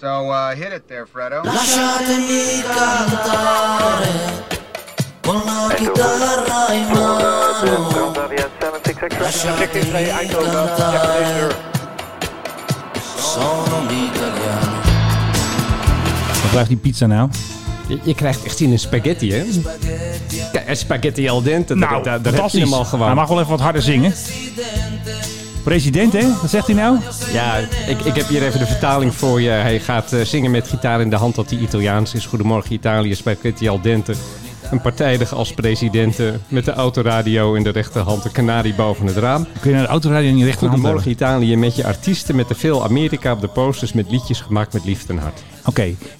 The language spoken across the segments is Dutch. So uh, hit it there, Fredo. Lasciatemi cantare con la chitarra in mano. Lasciatemi cantare. Sono un italiano. Wat blijft die pizza nou? Je, je krijgt echt zin in spaghetti, hè? Kijk, eh, spaghetti al dente. dat- dat- dat, heb je hem al Hij gewoon. Nou, mag wel even wat harder zingen. President, hè? Wat zegt hij nou? Ja, ik, ik heb hier even de vertaling voor je. Hij gaat eh, zingen met gitaar in de hand dat hij Italiaans is. Goedemorgen Italië, spaghetti al dente. Een partijdig als president eh, met de autoradio in de rechterhand, de kanarie boven het raam. Kun je naar de autoradio niet recht aan Goedemorgen Oké, Italië met je artiesten, met te veel Amerika op de posters, met liedjes gemaakt met liefde en hart.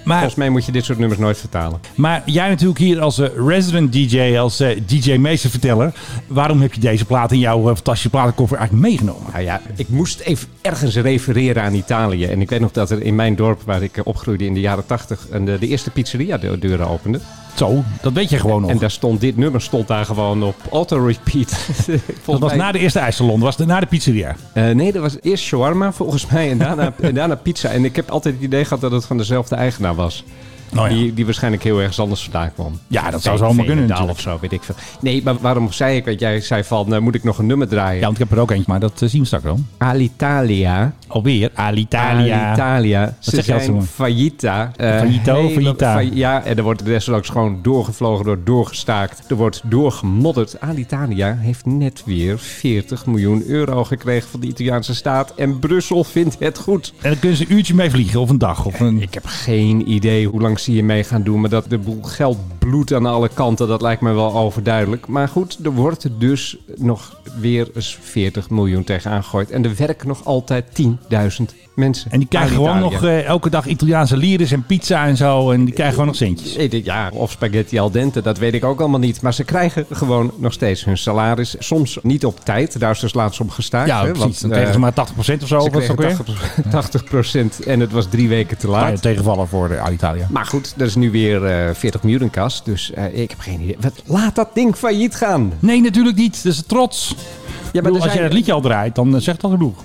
maar, Volgens mij moet je dit soort nummers nooit vertalen. maar jij natuurlijk hier als eh, resident DJ, als eh, DJ meesterverteller. Waarom heb je deze plaat in jouw eh, fantastische platenkoffer eigenlijk meegenomen? Nou ja, ik moest even ergens refereren aan Italië. En ik weet nog dat er in mijn dorp, waar ik eh, opgroeide in de jaren tachtig, eh, de, de eerste pizzeria de deuren opende. Zo, dat weet je gewoon nog. En daar stond dit nummer stond daar gewoon op auto-repeat. dat was na de eerste ijssalon, was de, na de pizzeria. Eh, nee, dat was eerst shawarma volgens mij en daarna, en daarna pizza. En ik heb altijd het idee gehad dat het van dezelfde eigenaar was. Nou ja. Die, die waarschijnlijk heel ergens anders vandaan kwam. Ja, dat zou zo allemaal kunnen Veenendaal of zo, weet ik veel. Nee, maar waarom zei ik, want jij zei van, eh, moet ik nog een nummer draaien? Ja, want ik heb er ook eentje, maar dat eh, zien we straks wel. Alitalia. Alweer, Alitalia. Alitalia. Ah, Ze zeg je altijd, zijn jongen? faillita. Eh, Faillito, hele- faillita. fa- ja, en er wordt desondanks gewoon doorgevlogen, door doorgestaakt. Er wordt doorgemodderd. Alitalia heeft net weer 40 miljoen euro gekregen van de Italiaanse staat. En Brussel vindt het goed. En dan kunnen ze een uurtje mee vliegen, of een dag. Of een... Ik heb geen idee hoe lang ze hiermee gaan doen. Maar dat de boel geld bloedt aan alle kanten, dat lijkt me wel overduidelijk. Maar goed, er wordt dus nog weer eens 40 miljoen tegenaan gegooid. En er werken nog altijd 10.000 mensen. En die krijgen gewoon Alitalia. nog eh, elke dag Italiaanse liris en pizza en zo. En die krijgen gewoon nog centjes. Ik denk, Ja, of spaghetti al dente, dat weet ik ook allemaal niet. Maar ze krijgen gewoon nog steeds hun salaris. Soms niet op tijd, daar is dus laatst op gestaakt. Ja, hè, precies. want, dan eh, kregen ze maar 80% of zo. of ze wat is dat ook weer? kregen 80%, 80% en het was drie weken te Ah, ja, laat. tegenvallen voor de Alitalia. Maar goed, er is nu weer eh, 40 miljoen in kas. Dus eh, ik heb geen idee. Wat, laat dat ding failliet gaan. Nee, natuurlijk niet. Dat is trots. Ja, Ik bedoel, als je dat liedje al draait, dan eh, zegt dat genoeg.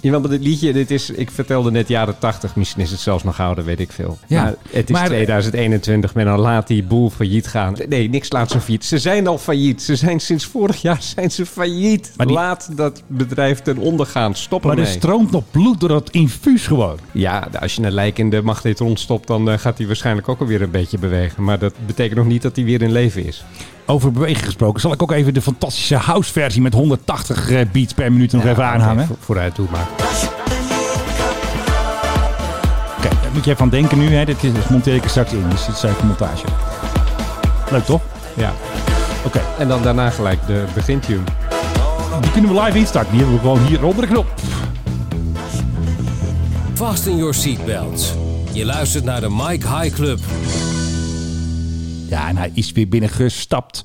Jawel, maar dit liedje, dit is, ik vertelde net jaren 80. Misschien is het zelfs nog ouder, weet ik veel. Ja, maar het is maar- 2021, men dan laat die boel failliet gaan. Nee, niks laat ze failliet. Ze zijn al failliet. Ze zijn sinds vorig jaar zijn ze failliet. Maar die- Laat dat bedrijf ten onder gaan. Stop Maar er ermee. stroomt nog bloed door dat infuus gewoon. Ja, als je een lijk in de magnetron stopt, dan eh, gaat hij waarschijnlijk ook alweer een beetje bewegen. Maar dat betekent nog niet dat hij weer in leven is. Over bewegen gesproken, zal ik ook even de fantastische house versie met 180 eh, beats per minuut nog even Ja, aanhangen. oké, vo- vooruit toe maar. Oké, daar moet je even aan denken nu. Hè. Dit is, dit monteer ik er straks in, dus dit is even montage. Leuk toch? Ja. Oké, En dan daarna gelijk de begintune. die kunnen we live instarten. Die hebben we gewoon hier onder de knop. Vast in your seatbelt. Je luistert naar de Mike High Club. Ja, en hij is weer binnengestapt.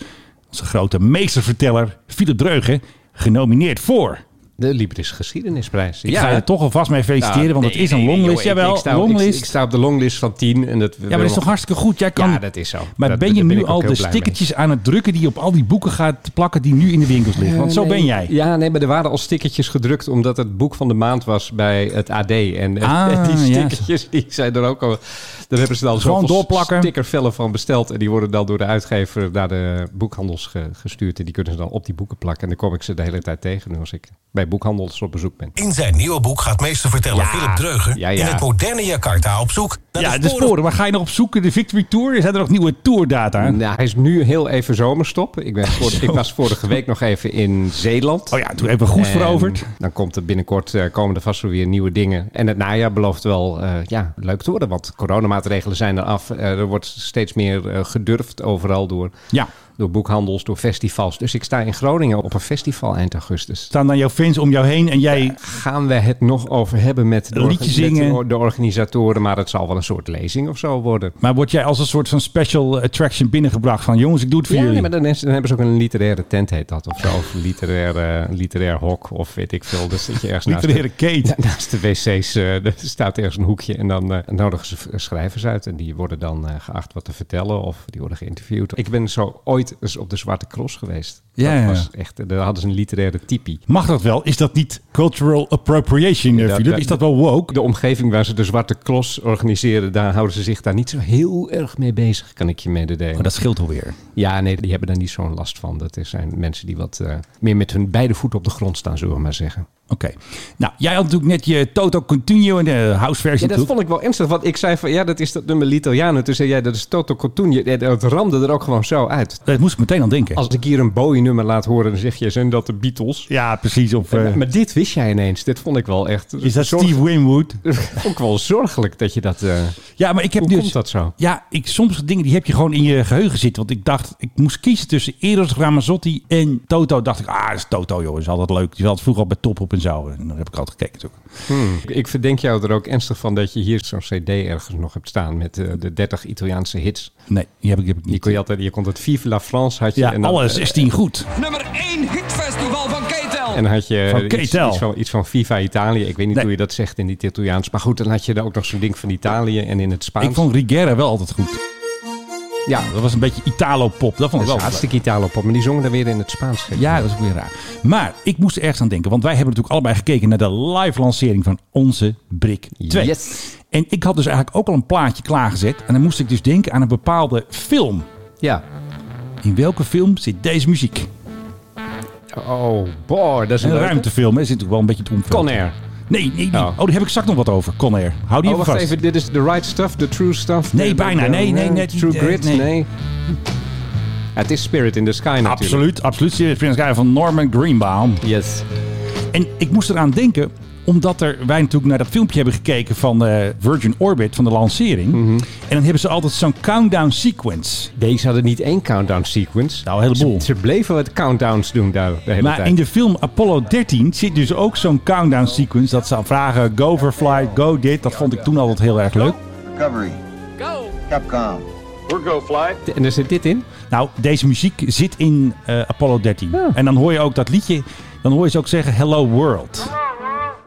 Onze grote meesterverteller, Philip Dreugen, genomineerd voor. De Libris Geschiedenisprijs. Ik ga je er toch alvast mee feliciteren, want het Nou, nee, is een nee, longlist. joh, ik- Jawel, ik sta- Ik, longlist. ik sta op de longlist van 10. En dat ja, maar dat is toch hartstikke goed? Jij kan... Ja, dat is zo. Maar Dat- ben je daar nu ik ook al heel de blij mee. stickertjes aan het drukken die je op al die boeken gaat plakken die nu in de winkels liggen? Want zo Eh, nee. ben jij. Ja, nee, maar er waren al stickertjes gedrukt omdat het boek van de maand was bij het AD. En eh, Ah, die ja. stickertjes die zijn er ook al. Daar hebben ze dan Gewoon zoveel doorplakken. stickervellen van besteld. En die worden dan door de uitgever naar de boekhandels ge- gestuurd. En die kunnen ze dan op die boeken plakken. En dan kom ik ze de hele tijd tegen nu als ik bij boekhandels op bezoek ben. In zijn nieuwe boek gaat meesterverteller Ja. Philip Dreugen... Ja, ja. in het moderne Jakarta op zoek naar Ja, de, de sporen sporen. Waar ga je nog op zoeken? De Victory Tour? Zijn er nog nieuwe tourdata? Nou, hij is nu heel even zomerstop. Ik, ben voor- ik was vorige week nog even in Zeeland. Oh ja, toen hebben we goed En veroverd. Dan komt er binnenkort, eh, komen er vast wel weer nieuwe dingen. En het najaar belooft wel eh, ja, leuk te worden, want coronamaatregelen zijn eraf. Eh, er wordt steeds meer eh, gedurfd overal door, Ja. door boekhandels, door festivals. Dus ik sta in Groningen op een festival eind augustus. Staan dan jouw fans om jou heen en jij Gaan we het nog over hebben met de, Een orga- liedje zingen. met de, de organisatoren, maar het zal wel een soort lezing of zo worden. Maar word jij als een soort van special attraction binnengebracht van jongens, ik doe het voor Ja, nee, jullie. maar dan, is- dan hebben ze ook een literaire tent, heet dat of zo. Of een literaire, een literair hok of weet ik veel. Dus zit je ergens naast de- Literaire Kate. Ja, naast de wc's eh, er staat ergens een hoekje en dan eh, nodigen ze v- schrijvers schrijvers uit. En die worden dan eh, geacht wat te vertellen of die worden geïnterviewd. Ik ben zo ooit eens op de Zwarte Cross geweest. Ja, ja. Dat was echt, daar hadden ze een literaire typie. Mag dat wel? Is dat niet cultural appropriation, eh, Ja, Philip? dat- Is dat wel woke? De omgeving waar ze de Zwarte Cross organiseren, daar houden ze zich daar niet zo heel erg mee bezig, kan ik je mededelen. Oh, Maar dat scheelt alweer. Ja, nee, die hebben daar niet zo'n last van. Dat is- zijn mensen die wat eh, meer met hun beide voeten op de grond staan, zullen we maar zeggen. Oké. Nou, jij had natuurlijk net je Toto Continuo in de houseversie. Ja, dat natuurlijk. vond ik wel ernstig. Want ik zei van, ja, dat is dat nummer L'Italiano. Toen zei jij, dat is Toto Cotugno. Ja, Dat ramde er ook gewoon zo uit. Daar moest ik meteen aan denken. Als ik hier een Bowie-nummer laat horen, dan zeg je, zijn dat de Beatles? Ja, precies. Of, eh, Maar dit wist jij ineens. Dit vond ik wel echt... is dat zorg- Steve Winwood? vond ik wel zorgelijk dat je dat... eh, Ja, maar ik heb hoe nu... komt dat zo? Ja, ik, soms dingen die heb je gewoon in je geheugen zitten. Want ik dacht, ik moest kiezen tussen Eros Ramazzotti en Toto. Dacht ik, ah, dat is Toto, joh. is altijd leuk. Die zat vroeger al bij Top op en zo. En dan heb ik altijd gekeken. natuurlijk. Ik- Ik verdenk jou er ook ernstig van dat je hier zo'n cd ergens nog hebt staan met eh, de 30 Italiaanse hits. Nee, die heb ik, die heb ik Die niet. kon je altijd, je kon het Vive la France had je. Ja, en dan, alle eh, 16 goed. Nummer 1 hitfestival van Ketel. En dan had je Van eh, iets, Ketel. iets van, iets van Viva Italië. Ik weet niet Nee. hoe je dat zegt in het Italiaans. Maar goed, dan had je daar ook nog zo'n ding van Italië en in het Spaans. Ik vond Rigera wel altijd goed. ja, Dat was een beetje Italo-pop. Dat vond dat ik is wel leuk. hartstikke Italo pop. Maar die zongen dan weer in het Spaans. gek. Ja, dat is ook weer raar. Maar ik moest ergens aan denken. Want wij hebben natuurlijk allebei gekeken naar de live lancering van onze Brik 2. Yes. En ik had dus eigenlijk ook al een plaatje klaargezet. En dan moest ik dus denken aan een bepaalde film. ja. In welke film zit deze muziek? Oh, boy, dat is een, Een leuke. ruimtefilm, hè? Zit natuurlijk wel een beetje te omvullen. Con Air. Nee, nee, nee. Oh. Oh, daar heb ik straks nog wat over. Con Air. Hou die Oh, even wacht vast. even. Dit is The Right Stuff, The True Stuff. Nee, de- bijna. de- Nee, nee, net- True eh, Grit, nee. nee. Het is Spirit in the Sky natuurlijk. Absoluut, absoluut. Prince Guy van Norman Greenbaum. Yes. En ik moest eraan denken omdat er, wij natuurlijk naar dat filmpje hebben gekeken van eh, Virgin Orbit, van de lancering. Mhm. En dan hebben ze altijd zo'n countdown sequence. Deze hadden niet één countdown sequence. Nou, een heleboel. Ze, ze bleven wat countdowns doen daar de hele Maar tijd. in de film Apollo 13 zit dus ook zo'n countdown sequence. Dat ze aan vragen, go for flight, go dit. Dat vond ik toen altijd heel erg leuk. Recovery. Go. Capcom. En er zit dit in. Nou, deze muziek zit in eh, Apollo 13. En dan hoor je ook dat liedje. Dan hoor je ze ook zeggen Hello World.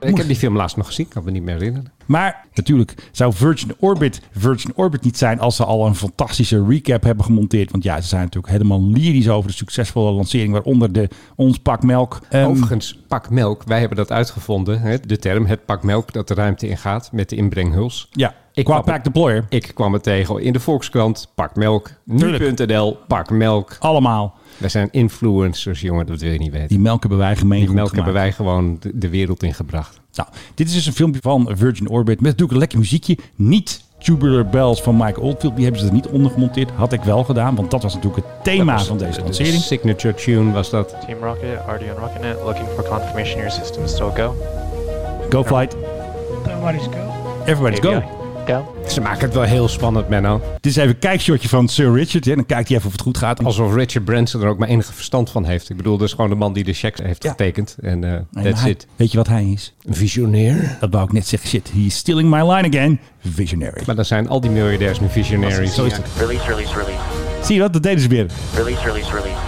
Ik heb die film laatst nog gezien, kan me niet meer herinneren. Maar natuurlijk zou Virgin Orbit Virgin Orbit niet zijn als ze al een fantastische recap hebben gemonteerd. Want ja, ze zijn natuurlijk helemaal lyrisch over de succesvolle lancering. Waaronder de Ons Pak Melk. Ehm, Overigens, pak melk. Wij hebben dat uitgevonden. Hè? De term, het pak melk, dat de ruimte ingaat met de inbrenghuls. ja, Ik qua kwam- Pack Deployer. Ik kwam het tegen in de Volkskrant, pak melk. Nu.nl, pak melk. Allemaal. Wij zijn influencers, jongen, dat wil je niet weten. Die melk hebben wij gemeen Die goed melk hebben gemaakt. wij gewoon de, de wereld ingebracht. Nou, dit is dus een filmpje van Virgin Orbit met natuurlijk een lekker muziekje. Niet Tubular Bells van Mike Oldfield. Die hebben ze er niet onder gemonteerd. Had ik wel gedaan, want dat was natuurlijk het thema Ah, van deze De lancering. Dus signature tune was dat. Team Rocket, already on Rocket Net, looking for confirmation your system is still go. Go flight. Everybody's go. Everybody's go. Go. Ze maken het wel heel spannend, Menno. Dit is even een kijkshotje van Sir Richard. Hè. Dan kijkt hij even of het goed gaat. Alsof Richard Branson er ook maar enige verstand van heeft. Ik bedoel, dat is gewoon de man die de checks heeft Ja. getekend. En eh Nee, maar that's hij- it. Weet je wat hij is? Een visionair. Dat wou ik net zeggen. Shit, he's stealing my line again. Visionary. Maar dan zijn al die miljardairs nu visionaries. Zo is het. Release, release, release. Zie je wat? Dat deden ze weer. Release, release, release.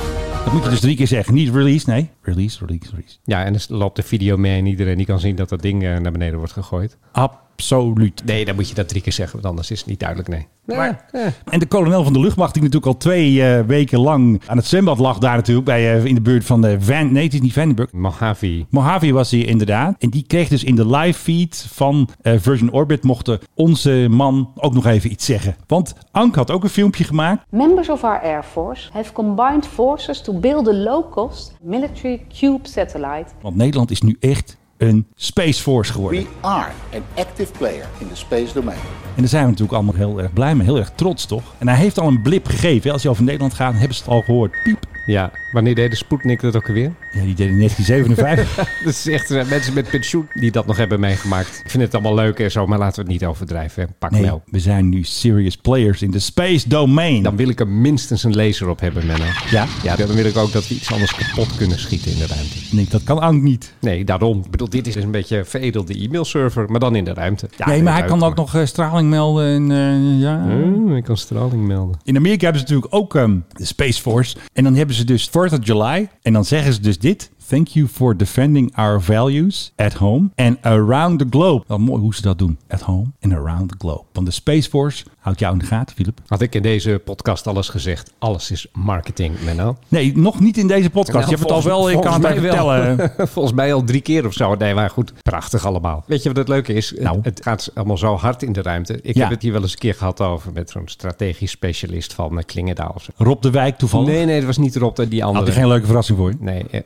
Dat moet je dus drie keer zeggen. Niet release, nee. Release, release, release. Ja, en dan loopt de video mee en iedereen die kan zien dat dat ding eh, naar beneden wordt gegooid. Absoluut. Nee, dan moet je dat drie keer zeggen, want anders is het niet duidelijk, nee. Maar- En de kolonel van de luchtmacht, die natuurlijk al twee eh, weken lang aan het zwembad lag daar natuurlijk. Bij, eh, in de buurt van de Van... Nee, het is niet Vandenberg. Mojave. Mojave was hij inderdaad. En die kreeg dus in de live feed van eh, Virgin Orbit mochten onze man ook nog even iets zeggen. Want Ank had ook een filmpje gemaakt. Members of our Air Force have combined forces to build a low-cost military cube satellite Want Nederland is nu echt een Space Force geworden. are an active player in the space domain. En daar zijn we natuurlijk allemaal heel erg blij mee. Heel erg trots, toch? En hij heeft al een blip gegeven. hè. Als je over Nederland gaat, hebben ze het al gehoord. Piep. Ja, wanneer deed de Sputnik dat ook alweer? Ja, die deed in 1957. Dat is echt eh, mensen met pensioen die dat nog hebben meegemaakt. Ik vind het allemaal leuk en zo, maar laten we het niet overdrijven. Hè. Pak Nee, melk. Nou, we zijn nu serious players in de space domain. Dan wil ik er minstens een laser op hebben, Menno. Ja? Ja, dan wil ik ook dat we iets anders kapot kunnen schieten in de ruimte. Nee, dat kan Ank niet. Nee, daarom. Ik bedoel, dit is een beetje veredelde e-mailserver, maar dan in de ruimte. Ja, nee, maar hij uit, kan ook nog eh, straling melden. En, eh, ja. Hmm, ik kan straling melden. In Amerika hebben ze natuurlijk ook ehm, de Space Force. En dan hebben ze dus 4th of July. En dan zeggen ze dus dit. Thank you for defending our values at home and around the globe. Wel mooi hoe ze dat doen. At home and around the globe. Want de Space Force houdt jou in de gaten, Philip. Had ik in deze podcast alles gezegd. Alles is marketing, Menno. Nee, nog niet in deze podcast. je Nou, hebt het al wel, volgens- ik kan het volgens even mij wel. vertellen. Volgens mij al drie keer of zo. Nee, maar goed. Prachtig allemaal. Weet je wat het leuke is? Nou. Het, het gaat allemaal zo hard in de ruimte. Ik Ja. heb het hier wel eens een keer gehad over met zo'n strategisch specialist van eh, Klingendaal. of zo. Rob de Wijk toevallig. Nee, nee, dat was niet Rob, die Had andere. hij geen leuke verrassing voor je? Nee, eh,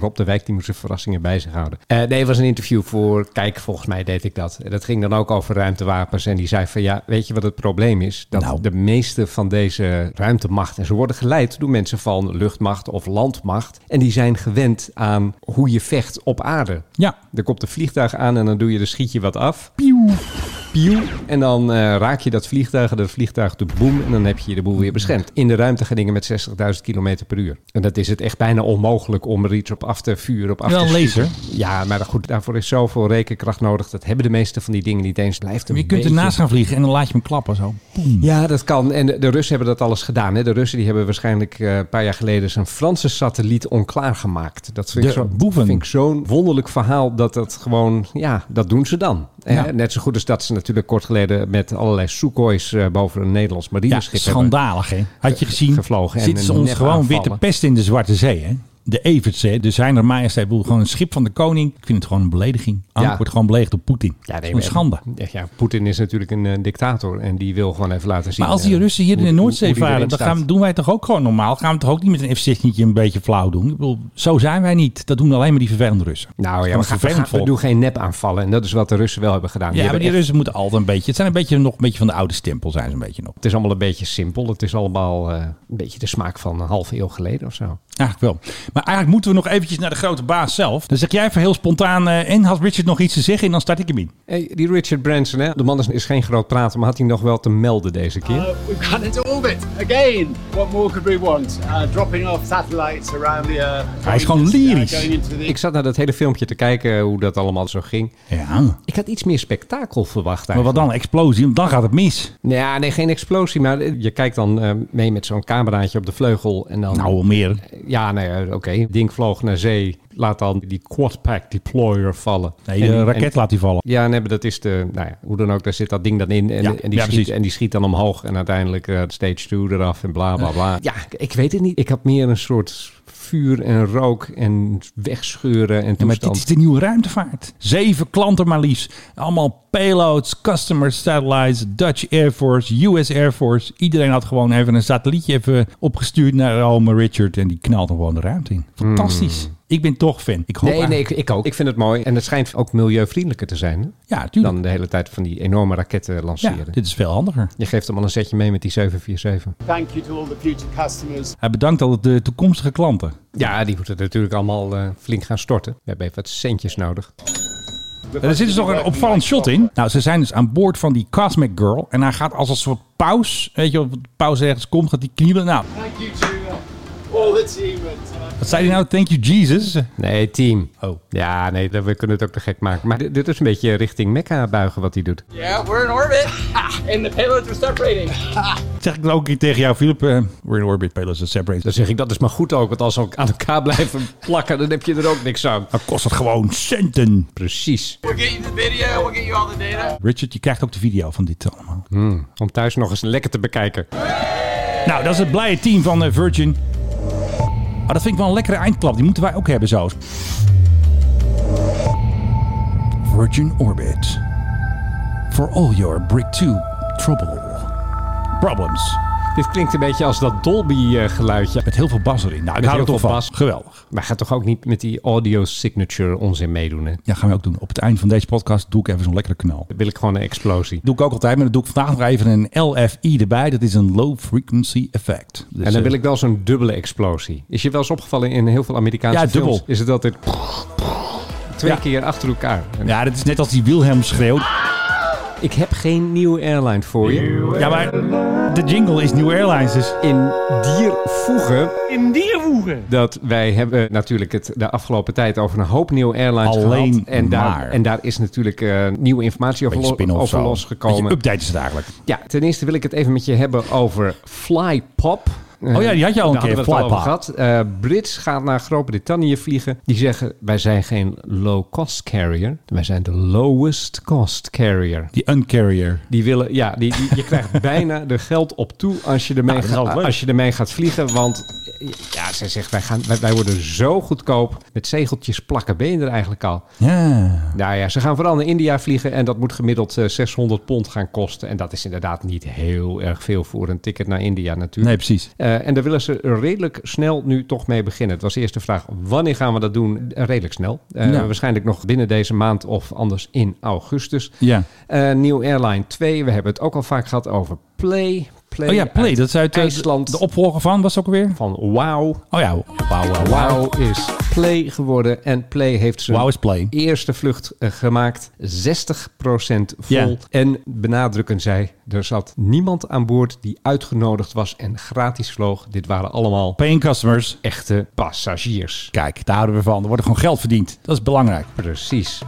Rob de Wijk die moest zijn verrassingen bij zich houden. Eh, nee, het was een interview voor Kijk, volgens mij deed ik dat. En Dat ging dan ook over ruimtewapens. En die zei van ja, weet je wat het probleem is? Dat Nou. de meeste van deze ruimtemachten, ze worden geleid door mensen van luchtmacht of landmacht. En die zijn gewend aan hoe je vecht op aarde. Ja. Er komt een vliegtuig aan en dan doe je, dan schiet je wat af. Pieuw. En dan eh, raak je dat vliegtuig en dat vliegtuig de boem en dan heb je de boel weer beschermd. In de ruimte gaan dingen met 60.000 km per uur. En dat is het echt bijna onmogelijk om er iets op af te vuren, op af Wel te een schieten. laser. Ja, maar goed, daarvoor is zoveel rekenkracht nodig. Dat hebben de meeste van die dingen niet eens. Blijft een Je kunt beetje- ernaast gaan vliegen en dan laat je hem klappen zo. ja, dat kan. En de, de Russen hebben dat alles gedaan. Hè? De Russen die hebben waarschijnlijk eh, een paar jaar geleden zijn Franse satelliet onklaargemaakt. Dat vind ik De zo- boeven. vind ik zo'n wonderlijk verhaal dat dat gewoon, ja, dat doen ze dan. Hè? Ja. Net zo goed als dat ze natuurlijk kort geleden met allerlei Sukhois eh, boven een Nederlands Ja, marineschip hebben. schandalig hè. Had je gezien, gevlogen en zitten ze een ons nep gewoon weer aanvallen. te pesten in de Zwarte Zee hè. De Everts hè, de Zijner Majesteit, ik bedoel, gewoon een schip van de koning. Ik vind het gewoon een belediging. Ank Ja. wordt gewoon beledigd door Poetin. Ja, nee, een maar- schande. Ja, ja, Poetin is natuurlijk een eh, dictator en die wil gewoon even laten zien. Maar als die eh, Russen hier in hoe- de hoe- Noordzee hoe die varen, erin dan staat. gaan, doen wij toch ook gewoon normaal. Gaan we toch ook niet met een F-16'tje een beetje flauw doen. Ik bedoel, zo zijn wij niet. Dat doen alleen maar die vervelende Russen. Dat Nou is ja, we, gewoon gaan, we, vervelend gaan- we volk. doen geen nep aanvallen. En dat is wat de Russen wel hebben gedaan. Die Ja, maar hebben die echt- Russen moeten altijd een beetje... Het zijn een beetje, nog een beetje van de oude stempel zijn ze een beetje nog. Het is allemaal een beetje simpel. Het is allemaal eh, een beetje de smaak van een halve eeuw geleden of zo. Eigenlijk wel. Maar eigenlijk moeten we nog eventjes naar de grote baas zelf. Dan zeg jij even heel spontaan... eh, en had Richard nog iets te zeggen? En dan start ik hem in. Hey, die Richard Branson, hè? de man is, is geen groot prater, maar had hij nog wel te melden deze keer? We've gone into orbit again. What more could we want? Uh, dropping off satellites around the Earth. Hij is gewoon lyrisch. ik zat naar dat hele filmpje te kijken hoe dat allemaal zo ging. Ja, Ik had iets meer spektakel verwacht maar wat eigenlijk. dan? Explosie? Want dan gaat het mis. Nou Ja, nee, geen explosie, maar je kijkt dan eh, mee met zo'n cameraatje op de vleugel. En dan, Nou, wel meer. Ja, nee, eh, oké. Ding vloog naar zee. Laat dan die quadpack deployer vallen. Nee, En de die- en- raket laat hij vallen. Ja, nee, maar dat is de, nou ja, hoe dan ook, daar zit dat ding dan in. En, Ja, en, die, ja, schiet, precies. en die schiet dan omhoog en uiteindelijk eh, stage 2 eraf en bla bla bla. Ja, ik- ik weet het niet. Ik had meer een soort vuur en rook en wegscheuren en Ja, maar dit toestand. is de nieuwe ruimtevaart. Zeven klanten maar liefst. Allemaal payloads, customer satellites, Dutch Air Force, US Air Force. Iedereen had gewoon even een satellietje even opgestuurd naar Rome Richard. En die knalt hem gewoon de ruimte in. Fantastisch. Ik ben toch fan. Ik hoop Hmm. Nee, nee, eigenlijk- ik, ik ook. Ik vind het mooi. En het schijnt ook milieuvriendelijker te zijn hè, Ja, tuurlijk. dan de hele tijd van die enorme raketten Ja, lanceren. dit is veel handiger. Je geeft hem al een setje mee met die 747. Thank you to all the future customers. Hij bedankt al de toekomstige klanten. Ja, die moeten natuurlijk allemaal eh, flink gaan storten. We hebben even wat centjes nodig. Er zit dus nog een opvallend shot in. Nou, ze zijn dus aan boord van die Cosmic Girl. En hij gaat als een soort paus. Weet je, wel, de paus ergens komt, gaat die knielen. Nou, Thank you to uh, all the team. At, uh, wat zei hij nou? Thank you, Jesus. Nee, team. Oh. Ja, nee, dat- we kunnen het ook te gek maken. Maar dit, dit is een beetje richting Mekka buigen wat hij doet. Yeah, we're in orbit. and the payloads are separating. Zeg ik dan ook hier tegen jou, Philip. eh, we're in orbit, payloads and separate. Dan Dat zeg ik, dat is maar goed ook. Want als ze aan elkaar blijven plakken, dan heb je er ook niks aan. kost het gewoon centen. Precies. We'll get you the video. We'll get you all the data. Richard, je krijgt ook de video van dit allemaal. Hm, Om thuis nog eens lekker te bekijken. Nou, dat is het blije team van eh, Virgin. Maar dat vind ik wel een lekkere eindklap. Die moeten wij ook hebben zo. Virgin Orbit. For all your Brick 2 trouble. Problems. Dit klinkt een beetje als dat eh, Dolby-geluidje. Met heel veel bas erin. Nou, ik Met hou er heel toch veel van. bas. Geweldig. Maar ga toch ook niet met die audio signature onzin meedoen, hè? Ja, gaan we ook doen. Op het eind van deze podcast doe ik even zo'n lekkere knal. Dan wil ik gewoon een explosie. Doe ik ook altijd, maar dan doe ik vandaag nog even een LFI erbij. Dat is een low frequency effect. Dus, en dan wil eh, ik wel zo'n dubbele explosie. Is je wel eens opgevallen in heel veel Amerikaanse Ja, films? dubbel. Is het altijd twee Ja. keer achter elkaar? En Ja, dat is net als die Wilhelm schreeuwt. Ik heb geen nieuwe airline voor je. Ja, maar de jingle is New Airlines. Dus in dier voegen. In dier voegen. Dat wij hebben natuurlijk het de afgelopen tijd over een hoop nieuwe airlines Alleen gehad. En maar. daar, en daar is natuurlijk eh, nieuwe informatie over, beetje spin lo- of over zo. Beetje losgekomen. update is het eigenlijk. Ja, ten eerste wil ik het even met je hebben over Flypop. Oh ja, die had je al een Eh, Daar keer. hadden we het al over Flypa. gehad. Eh, Brits gaat naar Groot-Brittannië vliegen. Die zeggen, wij zijn geen low-cost carrier. Wij zijn de lowest cost carrier. Die Uncarrier. Die willen, ja, die, die- je krijgt bijna er geld op toe als je ermee, Nou, dat is gaat, wel leuk. als je ermee gaat vliegen. Want ja, zij zegt, wij, gaan, wij, wij worden zo goedkoop. Met zegeltjes plakken ben je er eigenlijk al. Ja. Nou ja, ze gaan vooral naar India vliegen en dat moet gemiddeld eh, 600 pond gaan kosten. En dat is inderdaad niet heel erg veel voor een ticket naar India natuurlijk. Nee, precies. Eh, en daar willen ze redelijk snel nu toch mee beginnen. Het was eerst de vraag, wanneer gaan we dat doen? Eh, Redelijk snel. Eh, Ja. Waarschijnlijk nog binnen deze maand of anders in augustus. Ja. Eh, Nieuw Airline 2, we hebben het ook al vaak gehad over Play. Play Oh ja, Play. Dat is uit eh, IJsland. De opvolger van was het ook weer. van Wow. Oh ja. Wauw, wauw, wauw. Wow is Play geworden en Play heeft zijn Wauw is Play. eerste vlucht eh, gemaakt. 60% vol. Ja. En benadrukken zij, er zat niemand aan boord die uitgenodigd was en gratis vloog. Dit waren allemaal Paying customers. echte passagiers. Kijk, daar houden we van. Er wordt gewoon geld verdiend. Dat is belangrijk. Precies.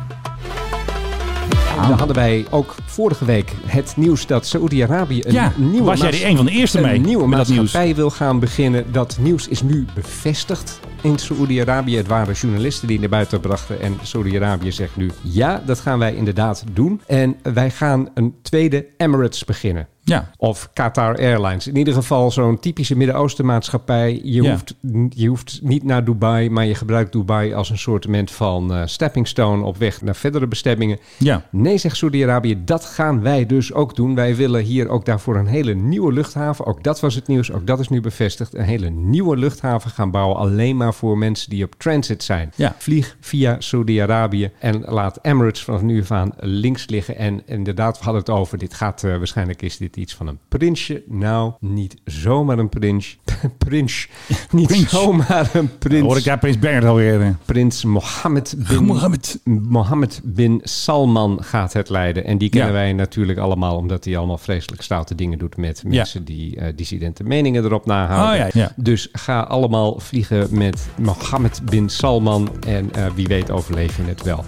Dan hadden wij ook vorige week het nieuws dat Saoedi-Arabië een Ja, nieuwe was jij die een van de eerste een mee nieuwe met dat maatschappij wil gaan beginnen. Dat nieuws is nu bevestigd in Saoedi-Arabië. Het waren journalisten die naar buiten brachten en Saoedi-Arabië zegt nu ja, dat gaan wij inderdaad doen en wij gaan een tweede Emirates beginnen. Ja. Of Qatar Airlines. In ieder geval zo'n typische Midden-Oosten maatschappij. Je, Ja. hoeft, je hoeft niet naar Dubai, maar je gebruikt Dubai als een soort van eh, stepping stone op weg naar verdere bestemmingen. Ja. Nee, zegt Saudi-Arabië, dat gaan wij dus ook doen. Wij willen hier ook daarvoor een hele nieuwe luchthaven. Ook dat was het nieuws, ook dat is nu bevestigd. Een hele nieuwe luchthaven gaan bouwen, alleen maar voor mensen die op transit zijn. Ja. Vlieg via Saudi-Arabië en laat Emirates vanaf nu af aan links liggen. En inderdaad, we hadden het over, dit gaat eh, waarschijnlijk is dit iets van een prinsje. Nou, niet zomaar een prins. prins. Niet Prins. zomaar een prins. Hoor ik daar Prins Bernhard alweer. eh. Prins Mohammed bin Mohammed. Mohammed bin Salman gaat het leiden. En die kennen Ja. wij natuurlijk allemaal, omdat hij allemaal vreselijk stoute dingen doet met mensen die eh, dissidente meningen erop nahouden. Oh ja, ja. Dus ga allemaal vliegen met Mohammed bin Salman. En eh, wie weet overleef je het wel.